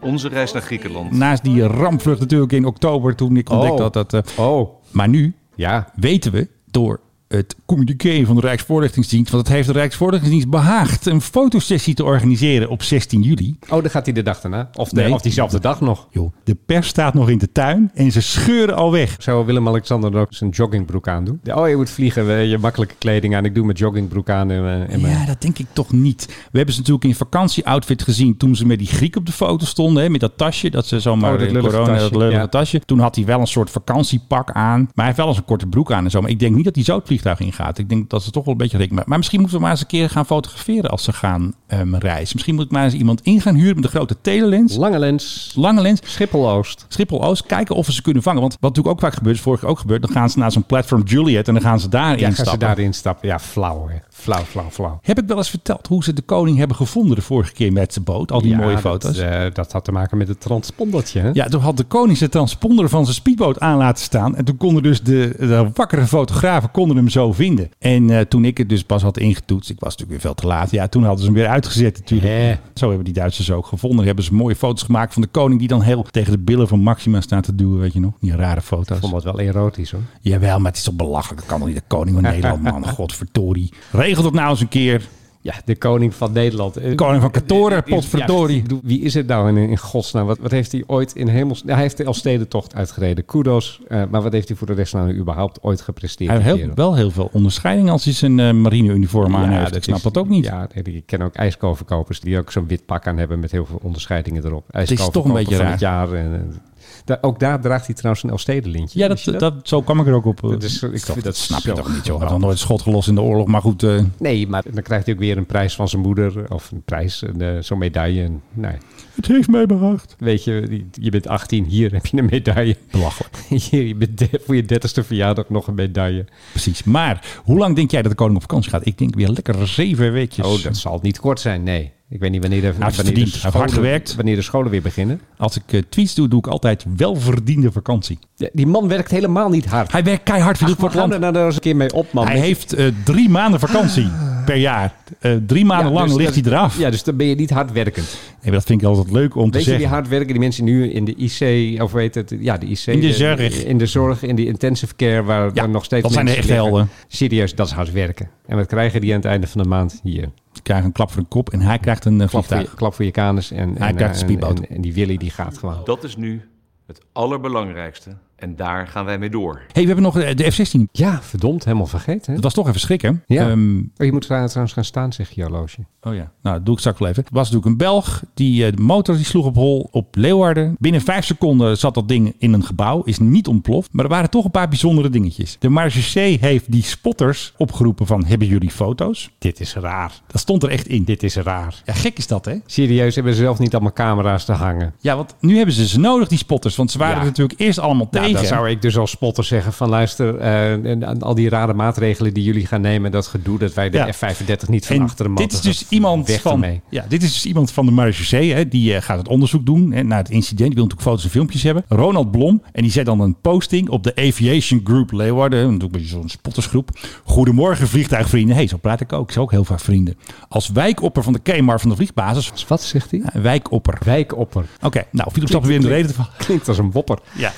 Onze reis naar Griekenland. Naast die rampvlucht natuurlijk in oktober toen ik ontdekte Oh. dat dat... eh, Oh, maar nu ja. weten we door het communiqué van de Rijksvoorlichtingsdienst. Want het heeft de Rijksvoorlichtingsdienst behaagd een fotosessie te organiseren op 16 juli. Oh, dan gaat hij de dag daarna. Of, de, of diezelfde dag nog. Joh, de pers staat nog in de tuin en ze scheuren al weg. Zou Willem-Alexander dan ook zijn joggingbroek aandoen? Oh, je moet vliegen, eh, je makkelijke kleding aan. Ik doe mijn joggingbroek aan. En, eh, en mijn- Ja, dat denk ik toch niet. We hebben ze natuurlijk in vakantieoutfit gezien toen ze met die Griek op de foto stonden. Hè, met dat tasje, dat ze zomaar Oh, dat eh, lullige corona, tasje, dat lullige ja. tasje. Toen had hij wel een soort vakantiepak aan. Maar hij heeft wel eens een korte broek aan en zo. Maar ik denk niet dat hij zo het vliegtuig ingaat. Ik denk dat ze toch wel een beetje rekening Maar misschien moeten we maar eens een keer gaan fotograferen als ze gaan ehm, reizen. Misschien moet ik maar eens iemand in gaan huren met een grote telelens. Lange lens. Lange lens. Schiphol-Oost. Schiphol-Oost. Kijken of we ze kunnen vangen. Want wat natuurlijk ook vaak gebeurt, is vorig jaar ook gebeurd. Dan gaan ze naar zo'n platform Juliet en dan gaan ze daarin Ja, gaan ze stappen. daarin stappen. Ja, flauw hè. Flauw, flauw, flauw. Heb ik wel eens verteld hoe ze de koning hebben gevonden de vorige keer met zijn boot? Al die Ja, mooie dat, foto's. eh, dat had te maken met het transpondertje. Hè? Ja, toen had de koning zijn transponder van zijn speedboot aan laten staan. En toen konden dus de, de wakkere fotografen konden hem zo vinden. En eh, toen ik het dus pas had ingetoetst, ik was natuurlijk weer veel te laat. Ja, toen hadden ze hem weer uitgezet natuurlijk. Zo hebben die Duitsers ook gevonden. Hebben ze mooie foto's gemaakt van de koning die dan heel tegen de billen van Maxima staat te duwen, weet je nog. Die rare foto's. Ik vond dat wel erotisch hoor. Jawel, maar het is toch belachelijk. Dat kan toch niet de koning van Nederland, man. Godverdorie. Regel dat nou eens een keer. Ja, de koning van Nederland. Eh, De koning van Katoren, potverdorie. wie is het nou in, in godsnaam? Wat, wat heeft hij ooit in hemels... Nou, hij heeft de Elstedentocht uitgereden. Kudos. Eh, maar wat heeft hij voor de rest nou überhaupt ooit gepresteerd? Hij heeft die heel- kerel? wel heel veel onderscheiding als hij zijn eh, marineuniform aan heeft. Ik snap is- dat ook niet. Ja, nee, ik ken ook ijskoverkopers die ook zo'n wit pak aan hebben met heel veel onderscheidingen erop. is toch een Ijskoverkoper beetje van raar. Het jaar en, en- daar- ook daar draagt hij trouwens een Elstedenlintje. Ja, Wist dat, je dat? zo kwam ik er ook op. eh, Dat is- ik vind dat snap je zo toch niet, joh. Hij had grappig. nog nooit schot gelost in de oorlog, maar goed. eh, Nee, maar dan krijgt hij ook weer een prijs van zijn moeder. Of een prijs, een, eh, zo'n medaille. En, nee. het heeft mij behaagd. Weet je, die- je bent 18, hier heb je een medaille. Belachelijk. Hier, je bent de- voor je 30ste verjaardag nog een medaille. Precies. Maar hoe lang denk jij dat de koning op vakantie gaat? Ik denk weer lekker zeven weekjes. Oh, dat zal niet kort zijn, nee. Ik weet niet wanneer de, heeft wanneer de, verdiend. Hij heeft hard gewerkt. wanneer de scholen weer beginnen. Als ik eh, tweets doe, doe ik altijd welverdiende vakantie. Ja, Die man werkt helemaal niet hard. Hij werkt keihard voor dit Ach, voor het hou land. daar nou eens een keer mee op, man. Hij Weet je- heeft eh, drie maanden vakantie per jaar. Eh, drie maanden Ah. Ja, lang dus ligt dat- hij eraf. Ja, dus dan ben je niet hardwerkend. Nee, maar dat vind ik altijd leuk om Weet te je, die zeggen. hardwerken, die mensen die nu in de IC, of weet het, ja, de IC. In de zorg. In de zorg, in de intensive care, waar waar nog steeds dat zijn de mensen echte liggen. helden. Serieus, dat is hard werken. En wat krijgen die aan het einde van de maand? Hier, Die krijgen een klap voor een kop en hij krijgt een eh, klap voor je, vliegtuig. klap voor je kanus. En, en, krijgt een eh, speedboot. En, en die Willy, die gaat gewoon. Dat is nu het allerbelangrijkste. En daar gaan wij mee door. hey, we hebben nog eh, de F-16. Ja, verdomd, helemaal vergeten. Hè? Dat was toch even schrikken. Ja. Ehm, Oh, je moet tra- trouwens gaan staan, zeg je horloge. Oh ja, nou dat doe ik straks wel even. Er was natuurlijk een Belg, die eh, de motor die sloeg op hol op Leeuwarden. Binnen vijf seconden zat dat ding in een gebouw, is niet ontploft. Maar er waren toch een paar bijzondere dingetjes. De marechaussee heeft die spotters opgeroepen van, hebben jullie foto's? Dit is raar. Dat stond er echt in. Dit is raar. Ja, gek is dat hè? Serieus, hebben ze zelf niet allemaal camera's te hangen. Ja, want nu hebben ze ze nodig, die spotters. Want ze waren Ja. er natuurlijk eerst allemaal Nou, tegen. dan zou ik dus als spotter zeggen van luister, eh, en, en al die rare maatregelen die jullie gaan nemen, dat gedoe dat wij de Ja. F-35 niet van En achteren dit is dus iemand weg van, ermee. ja, dit is dus iemand van de marechaussee. Hè, die eh, gaat het onderzoek doen hè, naar het incident. Die wil natuurlijk foto's en filmpjes hebben. Ronald Blom. En die zet dan een posting op de Aviation Group Leeuwarden. hè, Natuurlijk een beetje zo'n spottersgroep. Goedemorgen vliegtuigvrienden. hey, zo praat ik ook. Ik zeg ook heel vaak vrienden. Als wijkopper van de Kemar van de vliegbasis. Dus Wat zegt hij? Ja, een wijkopper. Wijkopper. Oké, nou, Philip stapt er weer in de reden van. Klinkt als een wopper. Ja,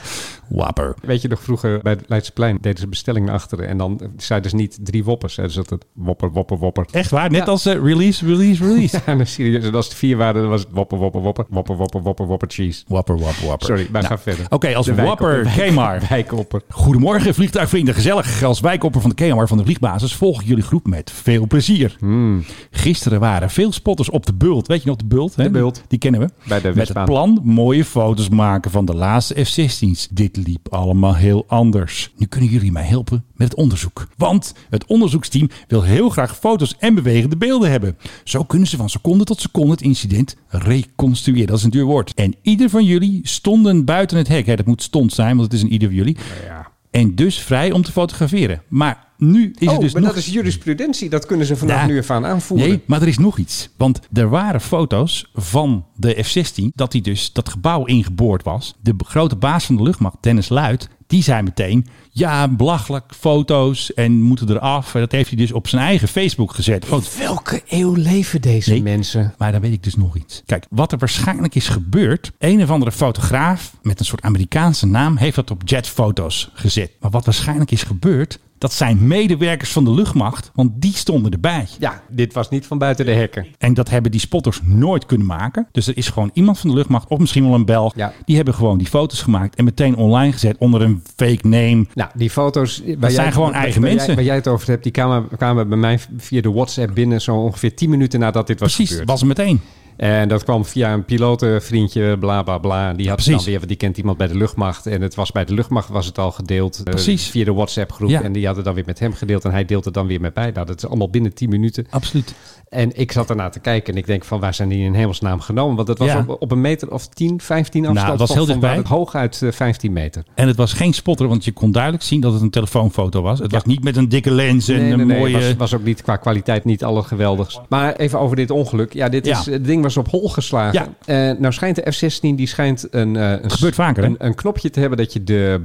wapper. Weet je nog, vroeger bij het Leidseplein deden ze bestellingen naar achteren. En dan eh, zei dus niet drie woppers. Ze zat het wopper, wopper, wopper. Echt waar, net als eh, release, release, release. Ja, en dan serieus. En als het vier waren, dan was het wopper, wopper, wopper. Wopper, wopper, wopper, wopper, cheese. Wapper, wapper, wapper. Sorry, maar Nou, ga verder. Oké, als De wijkopper, wapper wijk- Kemar. Wijkopper. Goedemorgen, vliegtuigvrienden. Gezellig. Als wijkopper van de KMR van de Vliegbasis volg ik jullie groep met veel plezier. Hmm. Gisteren waren veel spotters op de bult. Weet je nog de bult? Hè? De bult. Die kennen we. Bij met de het Westbaan. plan mooie foto's maken van de laatste F-16's. Dit liep allemaal heel anders. Nu kunnen jullie mij helpen met het onderzoek. Want het onderzoeksteam wil heel graag foto's en bewegende beelden hebben. Zo kunnen ze van seconde tot seconde het incident reconstrueren. Dat is een duur woord. En ieder van jullie stonden buiten het hek. Hè, dat moet stond zijn, want het is een ieder van jullie. Ja. En dus vrij om te fotograferen. Maar nu is Oh, het dus maar nog... dat is jurisprudentie. Dat kunnen ze vanaf Ja. nu af aan aanvoeren. Nee, maar er is nog iets. Want er waren foto's van de F-16 dat hij dus dat gebouw ingeboord was. De b- grote baas van de luchtmacht, Dennis Luit, die zei meteen... Ja, belachelijk, foto's en moeten eraf. En dat heeft hij dus op zijn eigen Facebook gezet. Foto's. Welke eeuw leven deze Nee. mensen? Maar dan weet ik dus nog iets. Kijk, wat er waarschijnlijk is gebeurd. Een of andere fotograaf met een soort Amerikaanse naam heeft dat op jetfoto's gezet. Maar wat waarschijnlijk is gebeurd. dat zijn medewerkers van de luchtmacht, want die stonden erbij. Ja, dit was niet van buiten de hekken. En dat hebben die spotters nooit kunnen maken. Dus er is gewoon iemand van de luchtmacht, of misschien wel een Belg, Ja. die hebben gewoon die foto's gemaakt en meteen online gezet onder een fake name. Nou, die foto's... waar zijn jij- gewoon waar- eigen waar jij- mensen. Waar jij het over hebt, die kwamen, kwamen bij mij via de WhatsApp binnen... zo ongeveer 10 minuten nadat dit was Precies, gebeurd. was er meteen. En dat kwam via een pilotenvriendje, bla bla bla. Die had het Precies. dan weer, want die kent iemand bij de luchtmacht. En het was bij de luchtmacht was het al gedeeld. eh, Precies. via de WhatsApp groep. Ja. En die hadden dan weer met hem gedeeld. En hij deelt het dan weer met mij. Nou, dat is allemaal binnen 10 minuten. Absoluut. En ik zat ernaar te kijken. En ik denk van waar zijn die in hemelsnaam genomen? Want dat was Ja. op, op een meter of 10, 15 Nou, afstand. het was van- heel van waar dichtbij. het Hooguit eh, 15 meter. En het was geen spotter, want je kon duidelijk zien dat het een telefoonfoto was. Het was niet met een dikke lens en Nee, nee, een nee, mooie... was, was ook niet qua kwaliteit niet allergeweldigst. Maar even over dit ongeluk. Ja, dit Ja. Is, eh, het ding was op hol geslagen. Eh, nou schijnt de F-16, die schijnt een, eh, een, Gebeurt vaker, hè? een, een knopje te hebben dat je de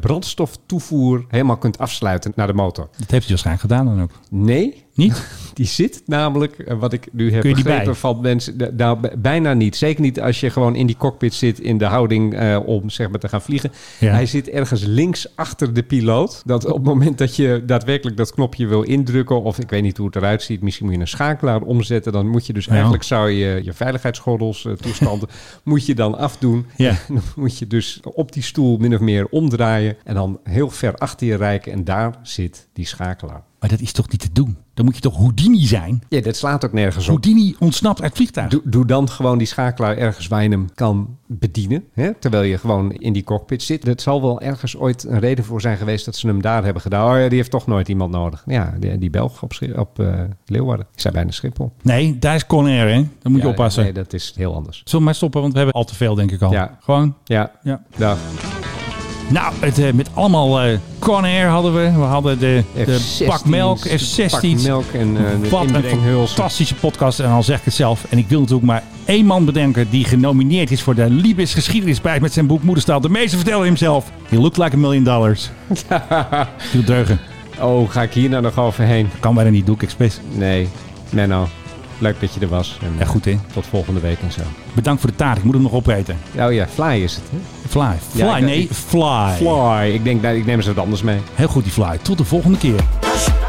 brandstoftoevoer helemaal kunt afsluiten naar de motor. Dat heeft hij waarschijnlijk gedaan dan ook. Nee, Niet? die zit namelijk, eh, wat ik nu heb Kun je die begrepen bij? van mensen, d- nou, b- bijna niet. Zeker niet als je gewoon in die cockpit zit in de houding eh, om zeg maar te gaan vliegen. Ja. Hij zit ergens links achter de piloot. Dat op het moment dat je daadwerkelijk dat knopje wil indrukken, of ik weet niet hoe het eruit ziet, misschien moet je een schakelaar omzetten. Dan moet je dus Ja. eigenlijk zou je je veiligheidsgordels, eh, toestanden, moet je dan afdoen. Ja. Dan moet je dus op die stoel min of meer omdraaien en dan heel ver achter je reiken en daar zit die schakelaar. Maar dat is toch niet te doen? Dan moet je toch Houdini zijn? Ja, dat slaat ook nergens op. Houdini ontsnapt uit het vliegtuig. Doe, doe dan gewoon die schakelaar ergens waar je hem kan bedienen. Hè? Terwijl je gewoon in die cockpit zit. Dat zal wel ergens ooit een reden voor zijn geweest dat ze hem daar hebben gedaan. Oh ja, die heeft toch nooit iemand nodig. Ja, die, die Belg op, Schi- op eh, Leeuwarden. Ik zei bijna Schiphol. Nee, daar is Conair, hè? Dan moet je Ja, oppassen. Nee, dat is heel anders. Zullen we maar stoppen, want we hebben al te veel, denk ik al. Ja. Gewoon. Ja, Ja. daar. Nou, het, eh, met allemaal eh Conair hadden we. We hadden de, de F16's, pak melk, F-16. pak melk en, eh, de Wat een inbrenghuls. fantastische podcast. En al zeg ik het zelf. En ik wil natuurlijk maar één man bedenken die genomineerd is voor de Libis Geschiedenisprijs met zijn boek Moederstaal. De meeste vertellen hemzelf. He looked like a million dollars. Doe deugen. Oh, ga ik hier nou nog overheen? Kan bijna niet, doe ik expres. Nee, Menno. Leuk dat je er was. En eh, Ja, goed, hè? tot volgende week en zo. Bedankt voor de taart. Ik moet hem nog opeten. Oh ja, Fly is het, hè? Fly. Fly, Ja, ik- nee, Fly. Ik denk, nou, ik neem ze wat anders mee. Heel goed, die fly. Tot de volgende keer. Als je